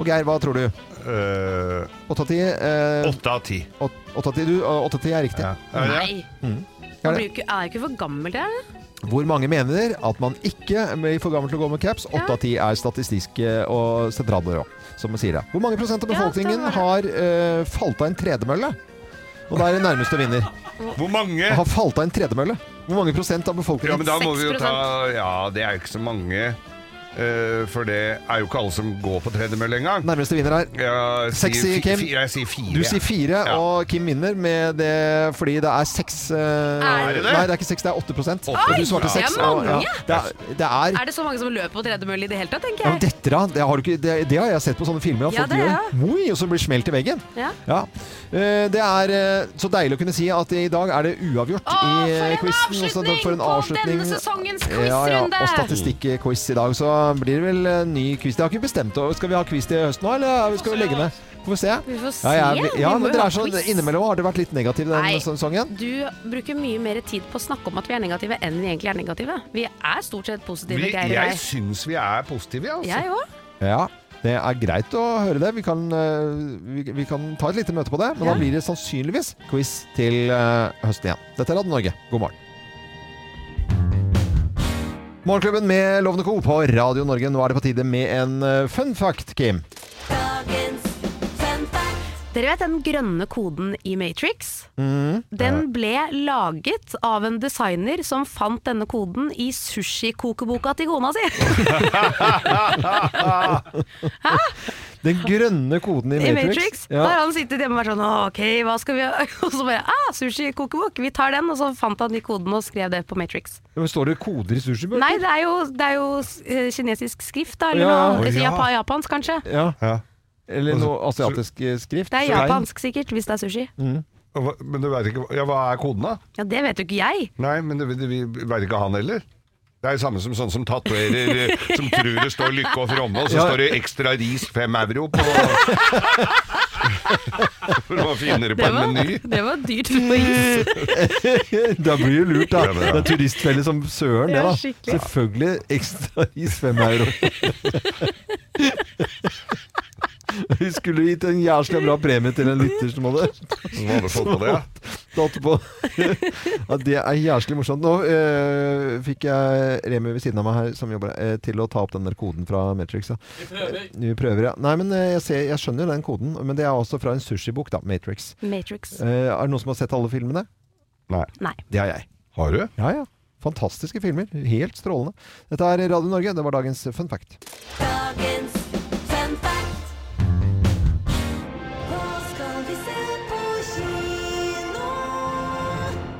A: Og Geir, hva tror du? Åtte av ti? eh,
B: Åtte av ti.
A: åt- Åtte av ti, du. Og Åtte av ti er riktig.
C: Nei.
A: Mm.
C: Man
A: Er
C: blir
A: det?
C: jo ikke, er jo ikke for gammel til det.
A: Hvor mange mener at man ikke blir for gammel til å gå med caps? Åtte av ti er statistisk eh, og sentralbyrå som sier det. Hvor mange prosent av befolkningen har eh, falt av en tredemølle? Og da er det nærmeste vinner.
B: Hvor mange?
A: Har falt av en tredemølle. Hvor mange prosent av befolkningen?
B: Ja, men da må vi jo ta Ja, det er jo ikke så mange. eh, for det er jo ikke alle som går på tredemølle engang.
A: Nærmeste vinner her.
B: Ja,
A: Sexy, Kim.
B: Fire, jeg sier fire.
A: Du sier fire, og Kim vinner med det fordi det er seks eh,
C: Er det det?
A: Nei, det er ikke seks, det er åtte prosent.
C: Oi,
A: Du svarte
C: det er
A: seks.
C: mange.
A: og- ja, Det er, det er
C: Er det så mange som løper på tredemølle i det hele tatt, tenker
A: Ja, men
C: jeg.
A: dette da, det har, du ikke, det, det har jeg sett på sånne filmer. at
C: Ja,
A: folk
C: det
A: gjør
C: har
A: en moi, og så blir det smelt i veggen.
C: Ja.
A: Eh, Det er eh, så deilig å kunne si at i dag er det uavgjort i eh, quizen. og så da- For en avslutning
C: denne sesongens
A: Ja, ja,
C: quizrunde!
A: og statistikkquiz i dag. Så blir det vel eh, ny quiz. Det har ikke bestemt og Skal vi ha quiz til høsten nå, eller skal vi legge ned? Får vi se.
C: Vi får se.
A: Ja, jeg,
C: Vi
A: ja
C: må
A: men
C: jo
A: dere
C: ha
A: er så
C: quiz.
A: Innimellom har det vært litt negativ denne
C: Nei.
A: sesongen.
C: Du bruker mye mer tid på å snakke om at vi er negative, enn vi egentlig er negative. Vi er stort sett positive,
B: Vi,
C: Geir og
B: jeg
C: jeg.
B: syns vi er positive, altså.
C: Jeg òg.
A: Ja, det er greit å høre det. Vi kan, eh, vi, vi kan ta et lite møte på det, men da blir det sannsynligvis quiz til eh, høsten igjen. Dette er Radio Norge, god morgen. Morgenklubben med Lovende Co. på Radio Norge. Nå er det på tide med en eh, fun fact, Kim.
C: Dere vet den grønne koden i Matrix?
A: Mhm.
C: Den ble laget av en designer som fant denne koden i sushikokeboka til kona si.
A: *laughs* Den grønne koden i
C: Ah. *laughs* I
A: Matrix.
C: Matrix. Da har han sittet hjemme og vært sånn «Å, OK, hva skal vi gjøre? *laughs* Og så bare ah, sushikokebok, vi tar den. Og så fant han de kodene og skrev det på Matrix.
A: Men Står det koder i sushibøker?
C: Nei, det er jo, det er jo eh, kinesisk skrift, da. Eller
A: Ja. Å,
C: noe eller
A: ja.
C: japa- japansk, kanskje.
A: Ja. Eller noe asiatisk eh, skrift.
C: Det er
A: Så-
C: japansk sikkert, hvis det er sushi.
A: Mm.
B: Og hva- Men du vet ikke hva- Ja, hva er koden, da?
C: Ja, Det vet jo ikke jeg.
B: Nei, men det, det, vi veit ikke han heller. Det er jo samme som sånn som
A: *laughs*
B: tatoverer eh, Som tror det står 'Lykke og Fromme', og så
A: Ja.
B: står det 'Ekstra ris 5 euro' på *laughs*
A: *laughs*
B: For å finne det på
C: Det
B: en
C: var-
B: meny.
C: Det var dyrt på is.
A: *laughs* da blir det lurt, da.
B: Ja, men
A: Det
B: ja.
A: er turistfelle som søren, det,
C: Ja,
A: da.
C: skikkelig.
A: Selvfølgelig ekstra is fem
B: *laughs*
A: euro. Vi skulle gitt en jævla bra premie til en lytter som hadde
B: Som hadde fått på det, ja.
A: *laughs* Tatt på. Ja, det er jævlig morsomt. Nå eh, fikk jeg Remi ved siden av meg her som jobber eh, til å ta opp den der koden fra Matrix. Ja. Eh, Vi prøver, ja. Nei, men eh, jeg, ser, jeg skjønner jo den koden, men det er også fra en sushibok, da. Matrix.
C: Matrix.
A: Eh, er det noen som har sett alle filmene?
B: Nei.
C: Nei.
A: Det har jeg.
B: Har du?
A: Ja, ja. Fantastiske filmer. Helt strålende. Dette er Radio Norge. Det var dagens fun fact.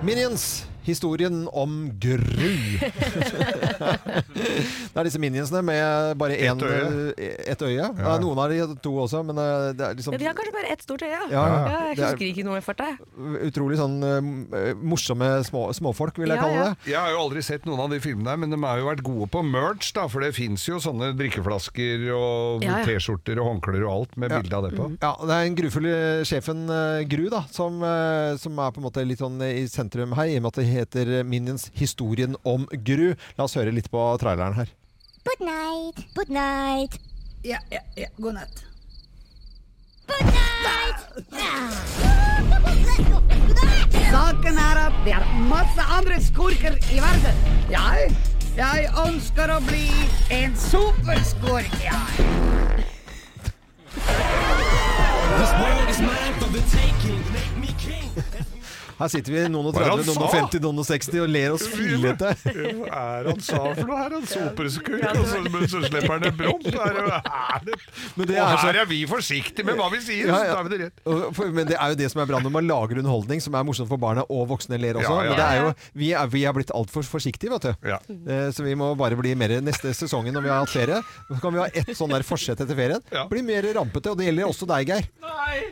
A: Minions. Historien om
B: *laughs*
A: Gru. det er disse minionsene med bare
B: Ett
A: én
B: øye.
A: Ett øye. Ja. noen har de to også, men eh, det er liksom
C: Ja, de har kanskje bare ett stort øye. Ja.
A: Ja, ja.
C: jeg
A: Det er-
C: husker ikke noe i farta. jeg.
A: utrolig sånn eh, morsomme små, småfolk, vil jeg
C: Ja,
A: kalle
C: ja.
A: det.
B: Jeg har jo aldri sett noen av de filmene, her, men de har jo vært gode på merch, da, for det fins jo sånne drikkeflasker og
A: Ja, ja.
B: T-skjorter og håndklær og alt med bilde av det på.
A: Ja, Mm. det er en grufulle sjefen eh, Gru da, som, eh, som er på en måte litt sånn i sentrum her, i og med at det heter eh, Minions historien om Gru. La oss høre litt på traileren her.
N: Good night, good night. Ja, ja, ja, god natt.
O: *laughs* Saken er at det er masse andre skurker i verden. Jeg Jeg ønsker å bli en superskurk, jeg.
A: Her sitter vi, noen og
B: Hva er
A: 30,
B: det han
A: noen og
B: sa?
A: 50, noen og 60, og ler oss fillete.
B: Hva er det han sa for noe her? Han superskurk, og så, men så slipper han en promp. Er det, er det,
A: Men det
B: og
A: er så-
B: her er vi forsiktige med hva vi sier,
A: Ja,
B: så
A: ja.
B: tar vi det rett.
A: Og for- Men det er jo det som er bra når man lager underholdning som er morsomt for barna og voksne ler også.
B: Ja, ja.
A: Men det er jo, vi, er, vi er blitt altfor forsiktige, vet du. Eh, Så vi må bare bli mer neste sesongen når vi har hatt ferie. Så kan vi ha ett sånn der forsett etter ferien. Bli mer rampete, og det gjelder også deg, Geir.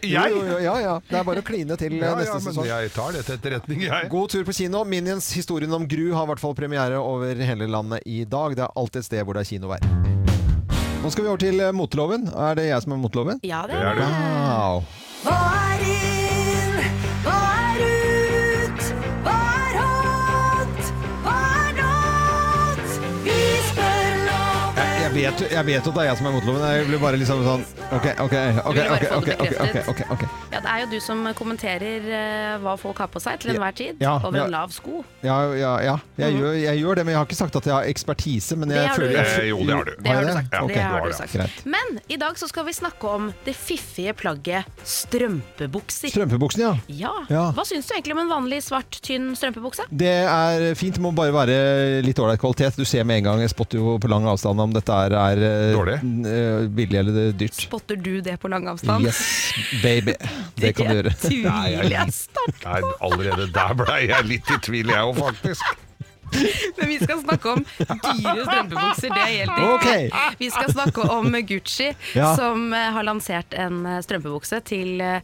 B: Jeg?
A: Jo, jo, jo, ja, ja. Det er bare å kline til eh,
B: Ja, ja,
A: neste
B: men
A: sesong.
B: jeg tar det til etterretning, jeg.
A: God tur på kino. Minions historien om Gru har i hvert fall premiere over hele landet i dag. Det er alltid et sted hvor det er kinovær. Nå skal vi over til eh, moteloven. Er det jeg som er moteloven?
E: Ja, det er Det er du. det.
A: Wow.
E: Hva er inn? Hva er ut? Hva er hot? Hva er not? Vi spør
C: *laughs*
E: lov.
A: Jeg, jeg, vet, jeg vet at det er jeg som er moteloven. Jeg blir bare liksom sånn OK, OK, OK. ok,
C: bare få
A: ok,
C: det
A: ok, ok,
C: bekreftet.
A: ok, ok.
C: Ja, det er jo du som kommenterer eh, hva folk har på seg til enhver tid,
A: Ja,
C: over
A: ja.
C: en lav sko.
A: Ja, ja, ja. Jeg, gjør, jeg gjør det, men jeg har ikke sagt at jeg har ekspertise. Men jeg
C: Mhm. Det har du.
A: føler jeg,
B: Eh, jo, det har du.
A: jeg
B: Det har du sagt.
A: Ja, ok.
C: Det har du sagt.
A: Greit.
C: Men i dag så skal vi snakke om det fiffige plagget strømpebukser.
A: Strømpebuksene, ja.
C: Ja.
A: Ja.
C: Hva syns du egentlig om en vanlig svart, tynn strømpebukse?
A: Det er fint, det må bare være litt ålreit kvalitet. Du ser med en gang, jeg spotter jo på lang avstand om dette er, er eh, n- eh, billig eller det er dyrt.
C: Spotter du det på lang avstand?
A: Yes, baby. Det kan du gjøre. *laughs*
B: Nei, jeg- Nei, allerede der ble jeg litt i tvil, jeg òg, faktisk.
C: Men vi skal snakke om *laughs* dyre strømpebukser, det er helt riktig.
B: Ok.
C: Vi skal snakke om
A: *laughs*
C: Gucci,
B: Ja.
C: som eh, har lansert en eh, strømpebukse til eh,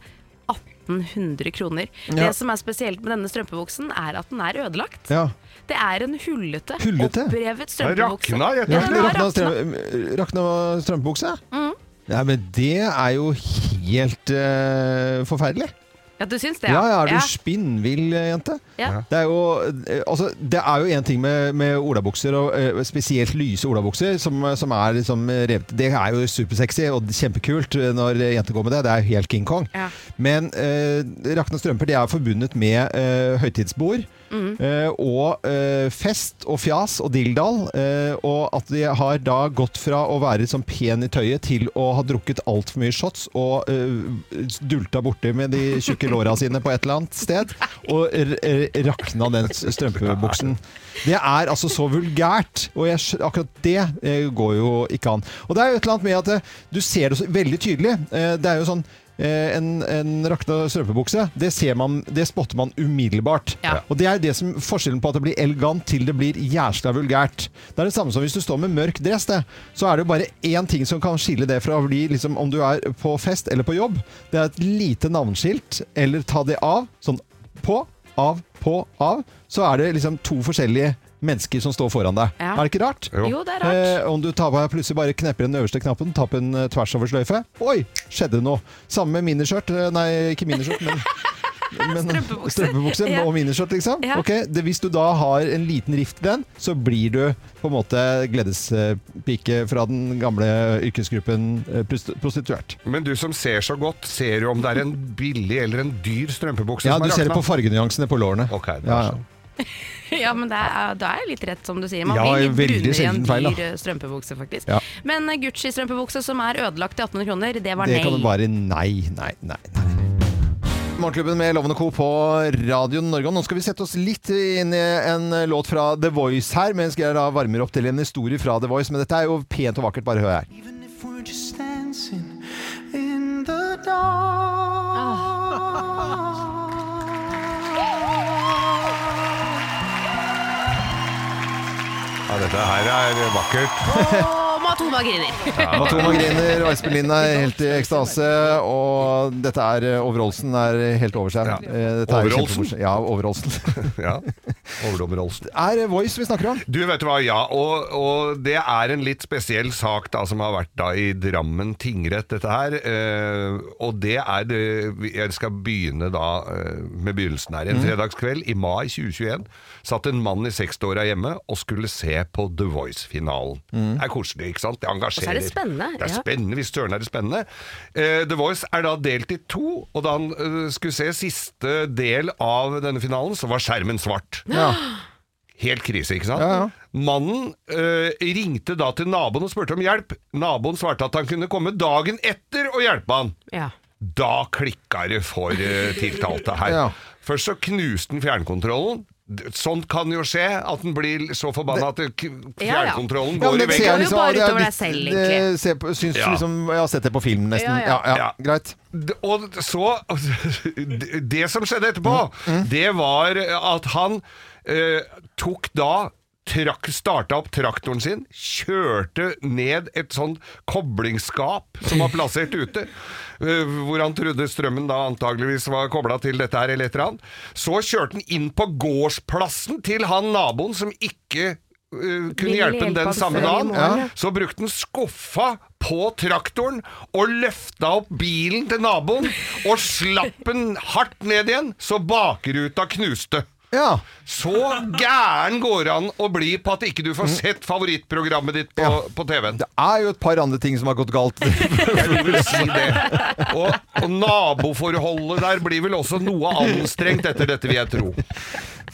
C: 1800 kroner.
A: Ja.
C: Det som er spesielt med denne strømpebuksen, er at den er ødelagt.
A: Ja.
C: Det er en hullete,
A: Hullete?
C: opprevet strømpebukse.
A: Ja,
C: Ja, den har
A: rakna
C: rakna.
A: strøm- Rakna strømpebukse?
C: Mm.
A: Nei, men det er jo helt eh, forferdelig.
C: Ja, du syns det?
A: Ja, ja, er du spinnvill, eh, jente?
C: Ja.
A: Det er jo eh, altså, det er jo en ting med, med olabukser, og eh, spesielt lyse olabukser, som, som er liksom revet Det er jo supersexy og kjempekult eh, når jenter går med det. Det er jo helt King Kong.
E: Ja.
A: Men eh, rakne strømper de er forbundet med eh, høytidsbord.
E: Mm.
A: eh, og eh, fest og fjas og dilldall. Eh, og at de har da gått fra å være sånn pen i tøyet til å ha drukket altfor mye shots og eh, dulta borti med de tjukke låra sine på et eller annet sted. Og r r rakna den s- strømpebuksen. Det er altså så vulgært, og jeg, skj- akkurat det eh, går jo ikke an. Og det er jo et eller annet med at eh, du ser det så veldig tydelig. Eh, det er jo sånn Eh, en, en rakna strømpebukse, det, ser man, det spotter man umiddelbart. Og Det er det som forskjellen på at det blir elegant til det blir jævla vulgært. Det er det samme som hvis du står med mørk dress. Det, så er det jo bare én ting som kan skille det fra å bli liksom, om du er på fest eller på jobb. Det er et lite navneskilt, eller ta det av. Sånn på, av, på, av. Så er det liksom to forskjellige mennesker som står foran deg.
E: Ja.
A: Er det ikke rart?
E: Jo. Jo, det er rart.
A: Eh, om du tar på- plutselig bare knepper den øverste knappen, tar på den eh, tvers over sløyfe Oi, skjedde det noe? Samme med miniskjørt. Eh, Nei, ikke miniskjørt,
E: *laughs*
A: men men, eh, strømpebukse.
E: Ja.
A: og miniskjørt, liksom.
E: Ja.
A: Ok, det, Hvis du da har en liten rift i den, så blir du på en måte gledespike fra den gamle yrkesgruppen eh, prost- prostituert.
B: Men du som ser så godt, ser jo om det er en billig eller en dyr strømpebukse
A: Ja,
B: som
A: du
B: er
A: ser det
B: rakna.
A: på fargenyansene på lårene. ja,
B: sånn.
A: ja.
C: Ja, men det er, da er jeg litt rett, som du sier. Man
A: Ja,
C: blir litt
A: veldig
C: brunere i en
A: sjelden feil, da.
C: dyr eh, strømpebukse, faktisk.
A: Ja.
C: Men eh, Gucci-strømpebukse som er ødelagt til 1800 kroner, det var
A: det
C: nei.
A: kan være nei, nei, nei. nei. Morgenklubben med Lovende Co. på Radio Norge. Og nå skal vi sette oss litt inn i en eh, låt fra The Voice her, mens jeg da varmer opp til en historie fra The Voice. Men dette er jo pent og vakkert, bare hør her.
E: If we're just dancing in the
A: Ah.
E: dark.
B: Ja, dette her er vakkert.
C: Og Matoma griner.
B: Ja.
A: Matoma griner, og Espen Lind er helt i ekstase. Og dette er Overholsen er helt over seg. Eh, dette er
B: Overholsen?
A: kjempemorsomt. Ja, Overholsen.
B: *laughs* ja. Overdommer Olsen.
A: Er det Voice vi snakker om?
B: Du, vet du hva, ja. Og, og det er en litt spesiell sak da, som har vært da i Drammen tingrett, dette her. Eh, og det er det Jeg skal begynne da eh, med begynnelsen her. En
C: Mhm.
B: fredagskveld i mai 2021 satt en mann i 60-åra hjemme og skulle se på The Voice-finalen. Det er koselig, ikke sant? Det
C: Mhm. Og så
B: engasjerer.
C: er det spennende,
B: Det er
C: ja.
B: spennende, hvis søren er det spennende. Eh, The Voice er da delt i to, og da han eh, skulle se siste del av denne finalen, så var skjermen svart.
C: *gasps*
B: Helt krise, ikke sant? Mannen eh, ringte da til naboen og spurte om hjelp. Naboen svarte at han kunne komme dagen etter og hjelpe han.
C: Ja.
B: Da klikka det for eh, tiltalte her.
A: Ja.
B: Først så knuste han fjernkontrollen. D- Sånt kan jo skje, at den blir så forbanna at det- k-
C: Ja, ja.
A: Ja,
B: fjernkontrollen
A: men
B: går i
A: det ser
B: veggen.
A: liksom- det er
C: utover deg
A: litt-
C: selv,
A: det
C: egentlig.
A: ser på- Syns
B: Ja.
A: liksom Jeg har sett det på film, nesten.
B: Ja,
A: Ja,
B: ja.
A: ja,
B: Ja.
A: Greit.
B: D- Og så *laughs* d- Det som skjedde etterpå, det var at han eh, tok da Trakk, starta opp traktoren sin, kjørte ned et sånt koblingsskap som var plassert ute, *laughs* eh, hvor han trodde strømmen da antageligvis var kobla til dette her eller et eller annet. Så kjørte han inn på gårdsplassen til han naboen som ikke eh, kunne
E: Ville
B: hjelpe
E: hjelpe
B: ham
E: han
B: den samme
E: før i
B: dagen.
E: morgen,
B: Ja.
E: ja.
B: Så brukte han skuffa på traktoren og løfta opp bilen til naboen og slapp den hardt ned igjen, så bakruta knuste. Så gæren går det an å bli på at ikke du får sett favorittprogrammet ditt på, på TV-en.
A: Er jo et par andre ting som har gått galt.
B: Jeg vil si det. Og, og naboforholdet der blir vel også noe anstrengt etter dette, vil jeg tro.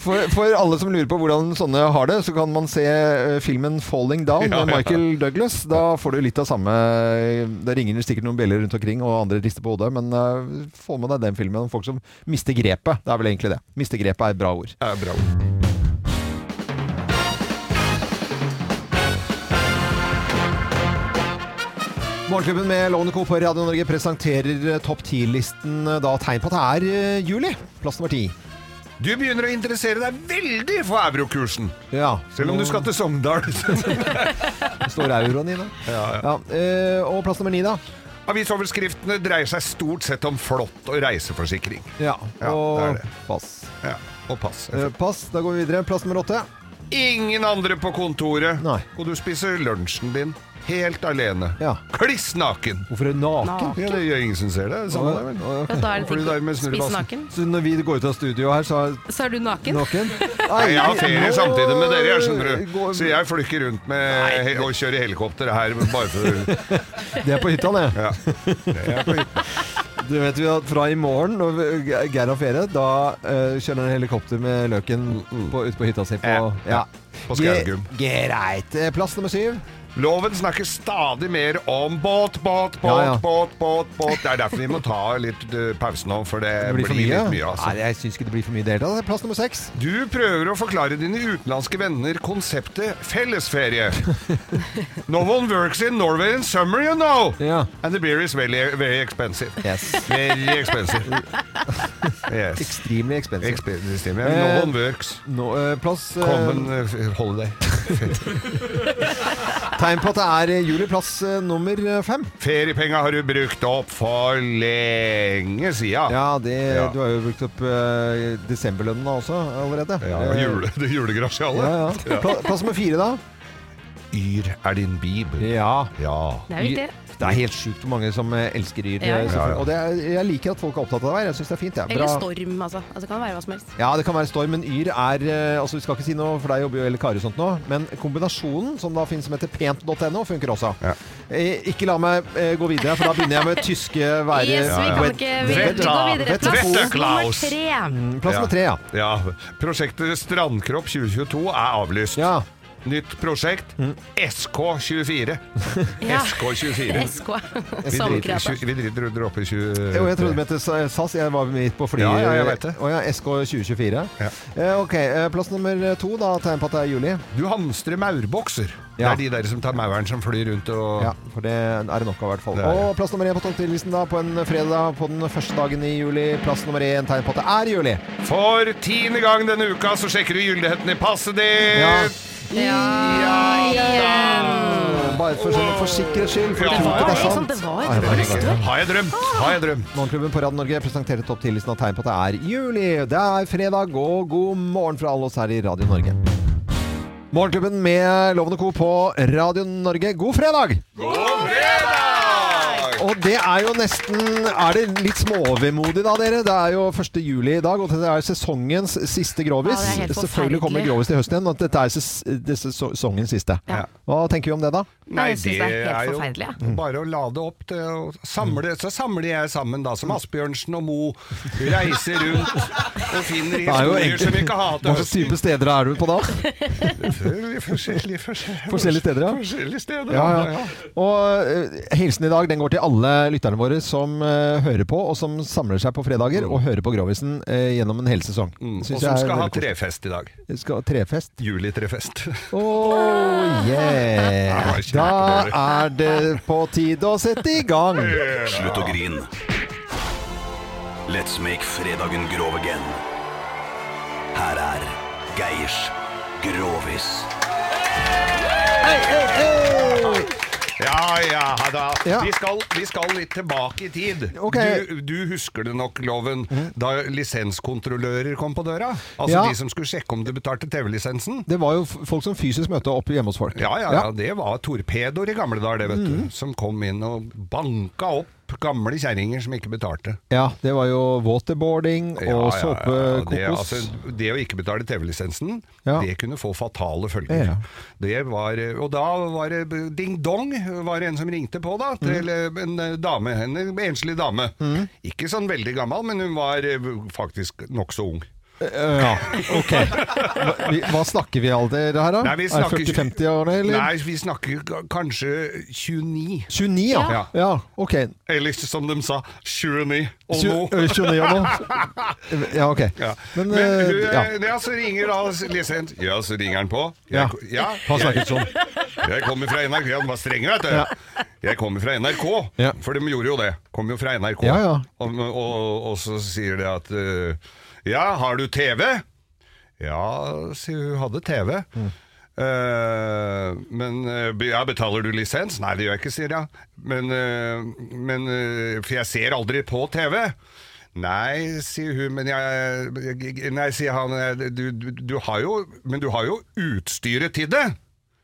A: For, for alle som lurer på hvordan sånne har det, så kan man se eh, filmen 'Falling Down'
B: Ja,
A: med
B: ja.
A: Michael Douglas. Da får du litt av samme eh, Det ringer det sikkert noen bjeller rundt omkring, og andre rister på hodet, men eh, få med deg den filmen om folk som mister grepet. Det er vel egentlig det. Mister grepet er et bra ord.
B: Er bra.
A: Morgenklubben med Lovende Co. på Radio Norge presenterer eh, topp ti-listen eh, da tegn på at det er eh, juli. Plass nummer ti.
B: Du begynner å interessere deg veldig for eurokursen.
A: Ja.
B: Selv om du skal til Sogndal.
A: Det står euroen i det.
B: Ja, ja.
A: Ja, eh, og plass nummer ni, da?
B: Avisoverskriftene dreier seg stort sett om flått og reiseforsikring.
A: Ja,
B: Ja, det er
A: og
B: det.
A: pass.
B: Ja, og pass.
A: Eh, pass. Da går vi videre. Plass nummer åtte.
B: Ingen andre på kontoret, og du spiser lunsjen din Helt alene. Kliss naken!
A: Hvorfor er du naken?
B: Ja, det gjør ingen som ser det. Samme det, vel.
A: Ja,
C: da er det
B: Fordi
C: ikke
B: med
C: spis
B: snurrebassen.
C: naken.
A: Så når vi går ut av studio her, så er
C: Så er du naken?
A: Naken?
B: Nei, jeg har ferie
A: nå-
B: samtidig med dere, jeg skjønner du. Så jeg flykker rundt med he- og kjører helikopter her bare for
A: Det er på hytta, det.
B: er på
A: Du vet vi at fra i morgen, når vi- Geir har ferie, da eh, kjører han helikopter med løken
B: Mm,
A: på, ut på hytta si. På, ja.
B: på Skaugum.
A: Ge- Greit. Eh, Plass nummer syv.
B: Loven snakker stadig mer om båt, båt, båt,
A: Ja, ja.
B: båt, båt, båt. Det er derfor vi må ta litt eh, pause nå, for det,
A: Det blir
B: blir,
A: for mye.
B: litt mye. Altså.
A: Nei, jeg syns ikke det blir for mye i det hele tatt. Plass nummer seks.
B: Du prøver å forklare dine utenlandske venner konseptet fellesferie.
A: *laughs*
B: no one works in Norway in summer, you know. And the beer is very, very expensive. Very expensive.
A: *laughs*
B: yes.
A: Extremely expensive. Eh,
B: Expensive. No one works.
A: Nå, eh, plass eh,
B: Common eh, holiday.
A: *laughs* Tegn på at det er eh, juli. Plass eh, nummer eh, fem.
B: Feriepenga har du brukt opp for lenge sia.
A: Ja, det,
B: Ja.
A: Du har jo brukt opp eh, desemberlønna også allerede.
B: Ja,
A: Eh,
B: jule, *laughs* det er julegrasjale.
A: ja, ja. Pla, plass nummer fire, da?
B: Yr er din bibel.
A: Ja.
B: ja.
C: Det er jo ikke det.
A: Det er helt sjukt hvor mange som eh, elsker yr.
C: Ja, ja.
A: selvfølgelig.
B: Ja, ja.
A: Og det er, jeg liker at folk er opptatt av det her. Jeg syns det er fint. Det er
C: Eller
A: bra.
C: storm, altså. altså. Det kan være hva som helst.
A: Ja, det kan være storm, men yr er eh, Altså, vi skal ikke si noe, for deg jobber jo eller Kari og sånt nå, men kombinasjonen som da finnes som heter pent.no, funker også. Eh, Ikke la meg eh, gå videre, for da begynner jeg med tyske være...
C: Yes, vi kan ikke vi, vi går videre. Plass nummer tre.
A: Mm, Plass nummer tre, ja.
B: ja. Prosjektet Strandkropp 2022 er avlyst. Nytt prosjekt
A: Mm.
B: SK24.
C: *laughs* Ja.
F: *laughs*
B: SK24.
C: SK.
B: Vi driter, i
C: Samkreata.
B: tjue- vi driter og dropper 20...
A: Jo, jeg trodde det het SAS. Jeg var midt på flyet.
B: Ja, ja, jeg vet det.
A: Å ja, SK 2024. Eh, ok, eh, plass nummer to, da. Tegn på at det er juli.
B: Du hamstrer maurbokser.
A: Ja.
B: Det er de der som tar mauren som flyr rundt og
A: Ja, for det er det nok av, i hvert fall.
B: Det er det.
A: Og plass nummer én på topptillisten da, på en fredag på den første dagen i juli. Plass nummer én, tegn på at det er juli.
B: For tiende gang denne uka så sjekker du gyldigheten i passet ditt!
A: Ja.
B: Bare
A: for, sånn, for sikkerhets skyld. For
B: Ja.
A: jeg tror ikke det er
B: Det
A: sant.
B: var det som det var.
A: Nei,
B: Det var
A: ikke Ah.
B: riktig. Har jeg drømt? Har jeg drømt?
A: Morgenklubben på Radio Norge presenterer topptillisten av tegn på at det er juli. Det er fredag, og god morgen fra alle oss her i Radio Norge. Morgenklubben med Loven og Co. på Radio Norge. God fredag! Og det er jo nesten Er det litt småvemodig da, dere? Det er jo 1. juli i dag, og dette er sesongens siste grovis.
B: Ja, det er helt
A: Selvfølgelig kommer
B: forferdelig.
A: grovis til høsten igjen, og dette er ses det er sesongens siste.
B: Ja.
A: Hva tenker vi om det, da?
B: Nei, det er jo
A: Mm.
B: bare å lade opp til å samle Så samler jeg sammen, da,
A: Mm.
B: som Asbjørnsen og Mo. Reiser rundt og finner
A: Det er jo
B: historier som vi
A: egentlig
B: ikke har
A: Hva
B: til
A: slags
B: høsten.
A: type steder er du på da?
B: Forskjellige, forskjellige,
A: Forskjellige steder, ja.
B: Forskjellige steder,
A: Ja, ja. Og eh, hilsen i dag den går til alle lytterne våre som eh, hører på, og som samler seg på fredager og hører på Grovisen eh, gjennom en hel sesong.
B: Mm,
A: Synes jeg
B: Og som
A: er
B: skal ha
A: veldig koselig.
B: trefest i dag.
A: Skal ha trefest.
B: Julitrefest.
A: Oh yeah! Da er det på tide å sette i gang.
P: Slutt å grine. Let's make fredagen grov again. Her er Geirs Grovis.
B: Ja, ja da.
P: Ja.
B: Vi, skal, vi skal litt tilbake i tid.
A: Ok.
B: Du, du husker det nok, Loven, da lisenskontrollører kom på døra? Altså
A: Ja.
B: de som skulle sjekke om du betalte TV-lisensen?
A: Det var jo f- folk som fysisk møtte opp hjemme hos folk.
B: Ja, ja, ja, det var torpedoer i gamle dager, det, vet du. Som kom inn og banka opp gamle kjerringer som ikke betalte.
A: Ja, det var jo waterboarding og såpekokos.
B: Det, altså, det å ikke betale TV-lisensen, det kunne få fatale følger.
A: Ja.
B: Det var, og da var det Ding Dong var det en som ringte på, da. Til
A: Mm.
B: en eh, dame, en enslig dame. Ikke sånn veldig gammel, men hun var eh, faktisk nokså ung.
A: Eh, ja, ok. Hva, vi- hva snakker vi alder her, da?
B: Nei, vi snakker-
A: er det 40-50-årene, eller?
B: Nei, vi snakker k- kanskje 29.
A: 29, ja. ja. ok.
B: Eller som de sa, 29 og
A: Tju-
B: nå.
A: ø, 29
B: *laughs*
A: og nå. Ja, ok. Men,
B: Men
A: eh,
B: hun,
A: ja.
B: ja, så ringer da lisent. Ja, så ringer han på.
A: Ja. Han snakket
B: jeg-
A: sånn.
B: Jeg kommer fra NRK. Han var streng, vet du. Jeg kommer fra NRK, for de gjorde jo det. Kom jo fra NRK.
A: Ja, ja.
B: Og, og, og så sier de at eh, Ja, har du TV? Ja, sier hun. Hadde TV. Eh, men eh, be- ja, betaler du lisens? Nei, det gjør jeg ikke, sier jeg. Men, eh, men eh, For jeg ser aldri på TV. Nei, sier hun, men jeg, eh, jeg- jeg Nei, sier han, jeg- du, du, du har jo Men du har jo utstyret til det!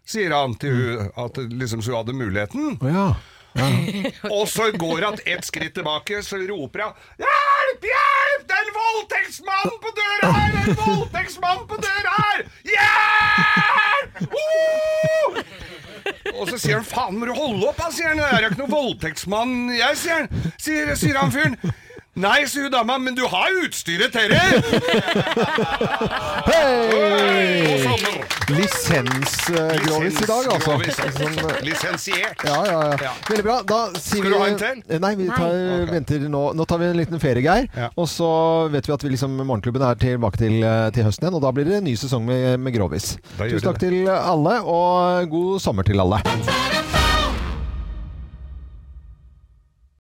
B: sier han til hun at liksom så hun hadde muligheten.
A: Ja.
B: *laughs* Og så går han ett skritt tilbake, så roper han Hjelp! Hjelp! Det er en voldtektsmann på døra her! Det er en voldtektsmann på døra her! Hjelp! Oh! Og så sier han faen, må du holde opp, da, sier han. Jeg er jo ikke noen voldtektsmann, jeg, sier han. Sier, sier han fyren. Nei, sier hun dama, men du har jo utstyret, dere!
A: *laughs* Hei!
B: Og sånn.
A: Lisensgrovis Eh, i dag, altså.
B: Grovis,
A: Sånn, eh,
B: Lisensiert.
A: Ja, ja, ja.
B: Ja.
A: Veldig bra. Da sier
B: Skal du
A: vi-
B: ha en til?
A: Eh, Nei, vi tar,
B: Nei. Ok.
A: venter nå. Nå tar vi en liten ferie, Geir. Og så vet vi at vi liksom, morgenklubben er tilbake til, eh, til høsten igjen. Og da blir det en ny sesong med, med Grovis.
B: Da gjør
A: Tusen
B: det
A: takk til alle, og god sommer til alle.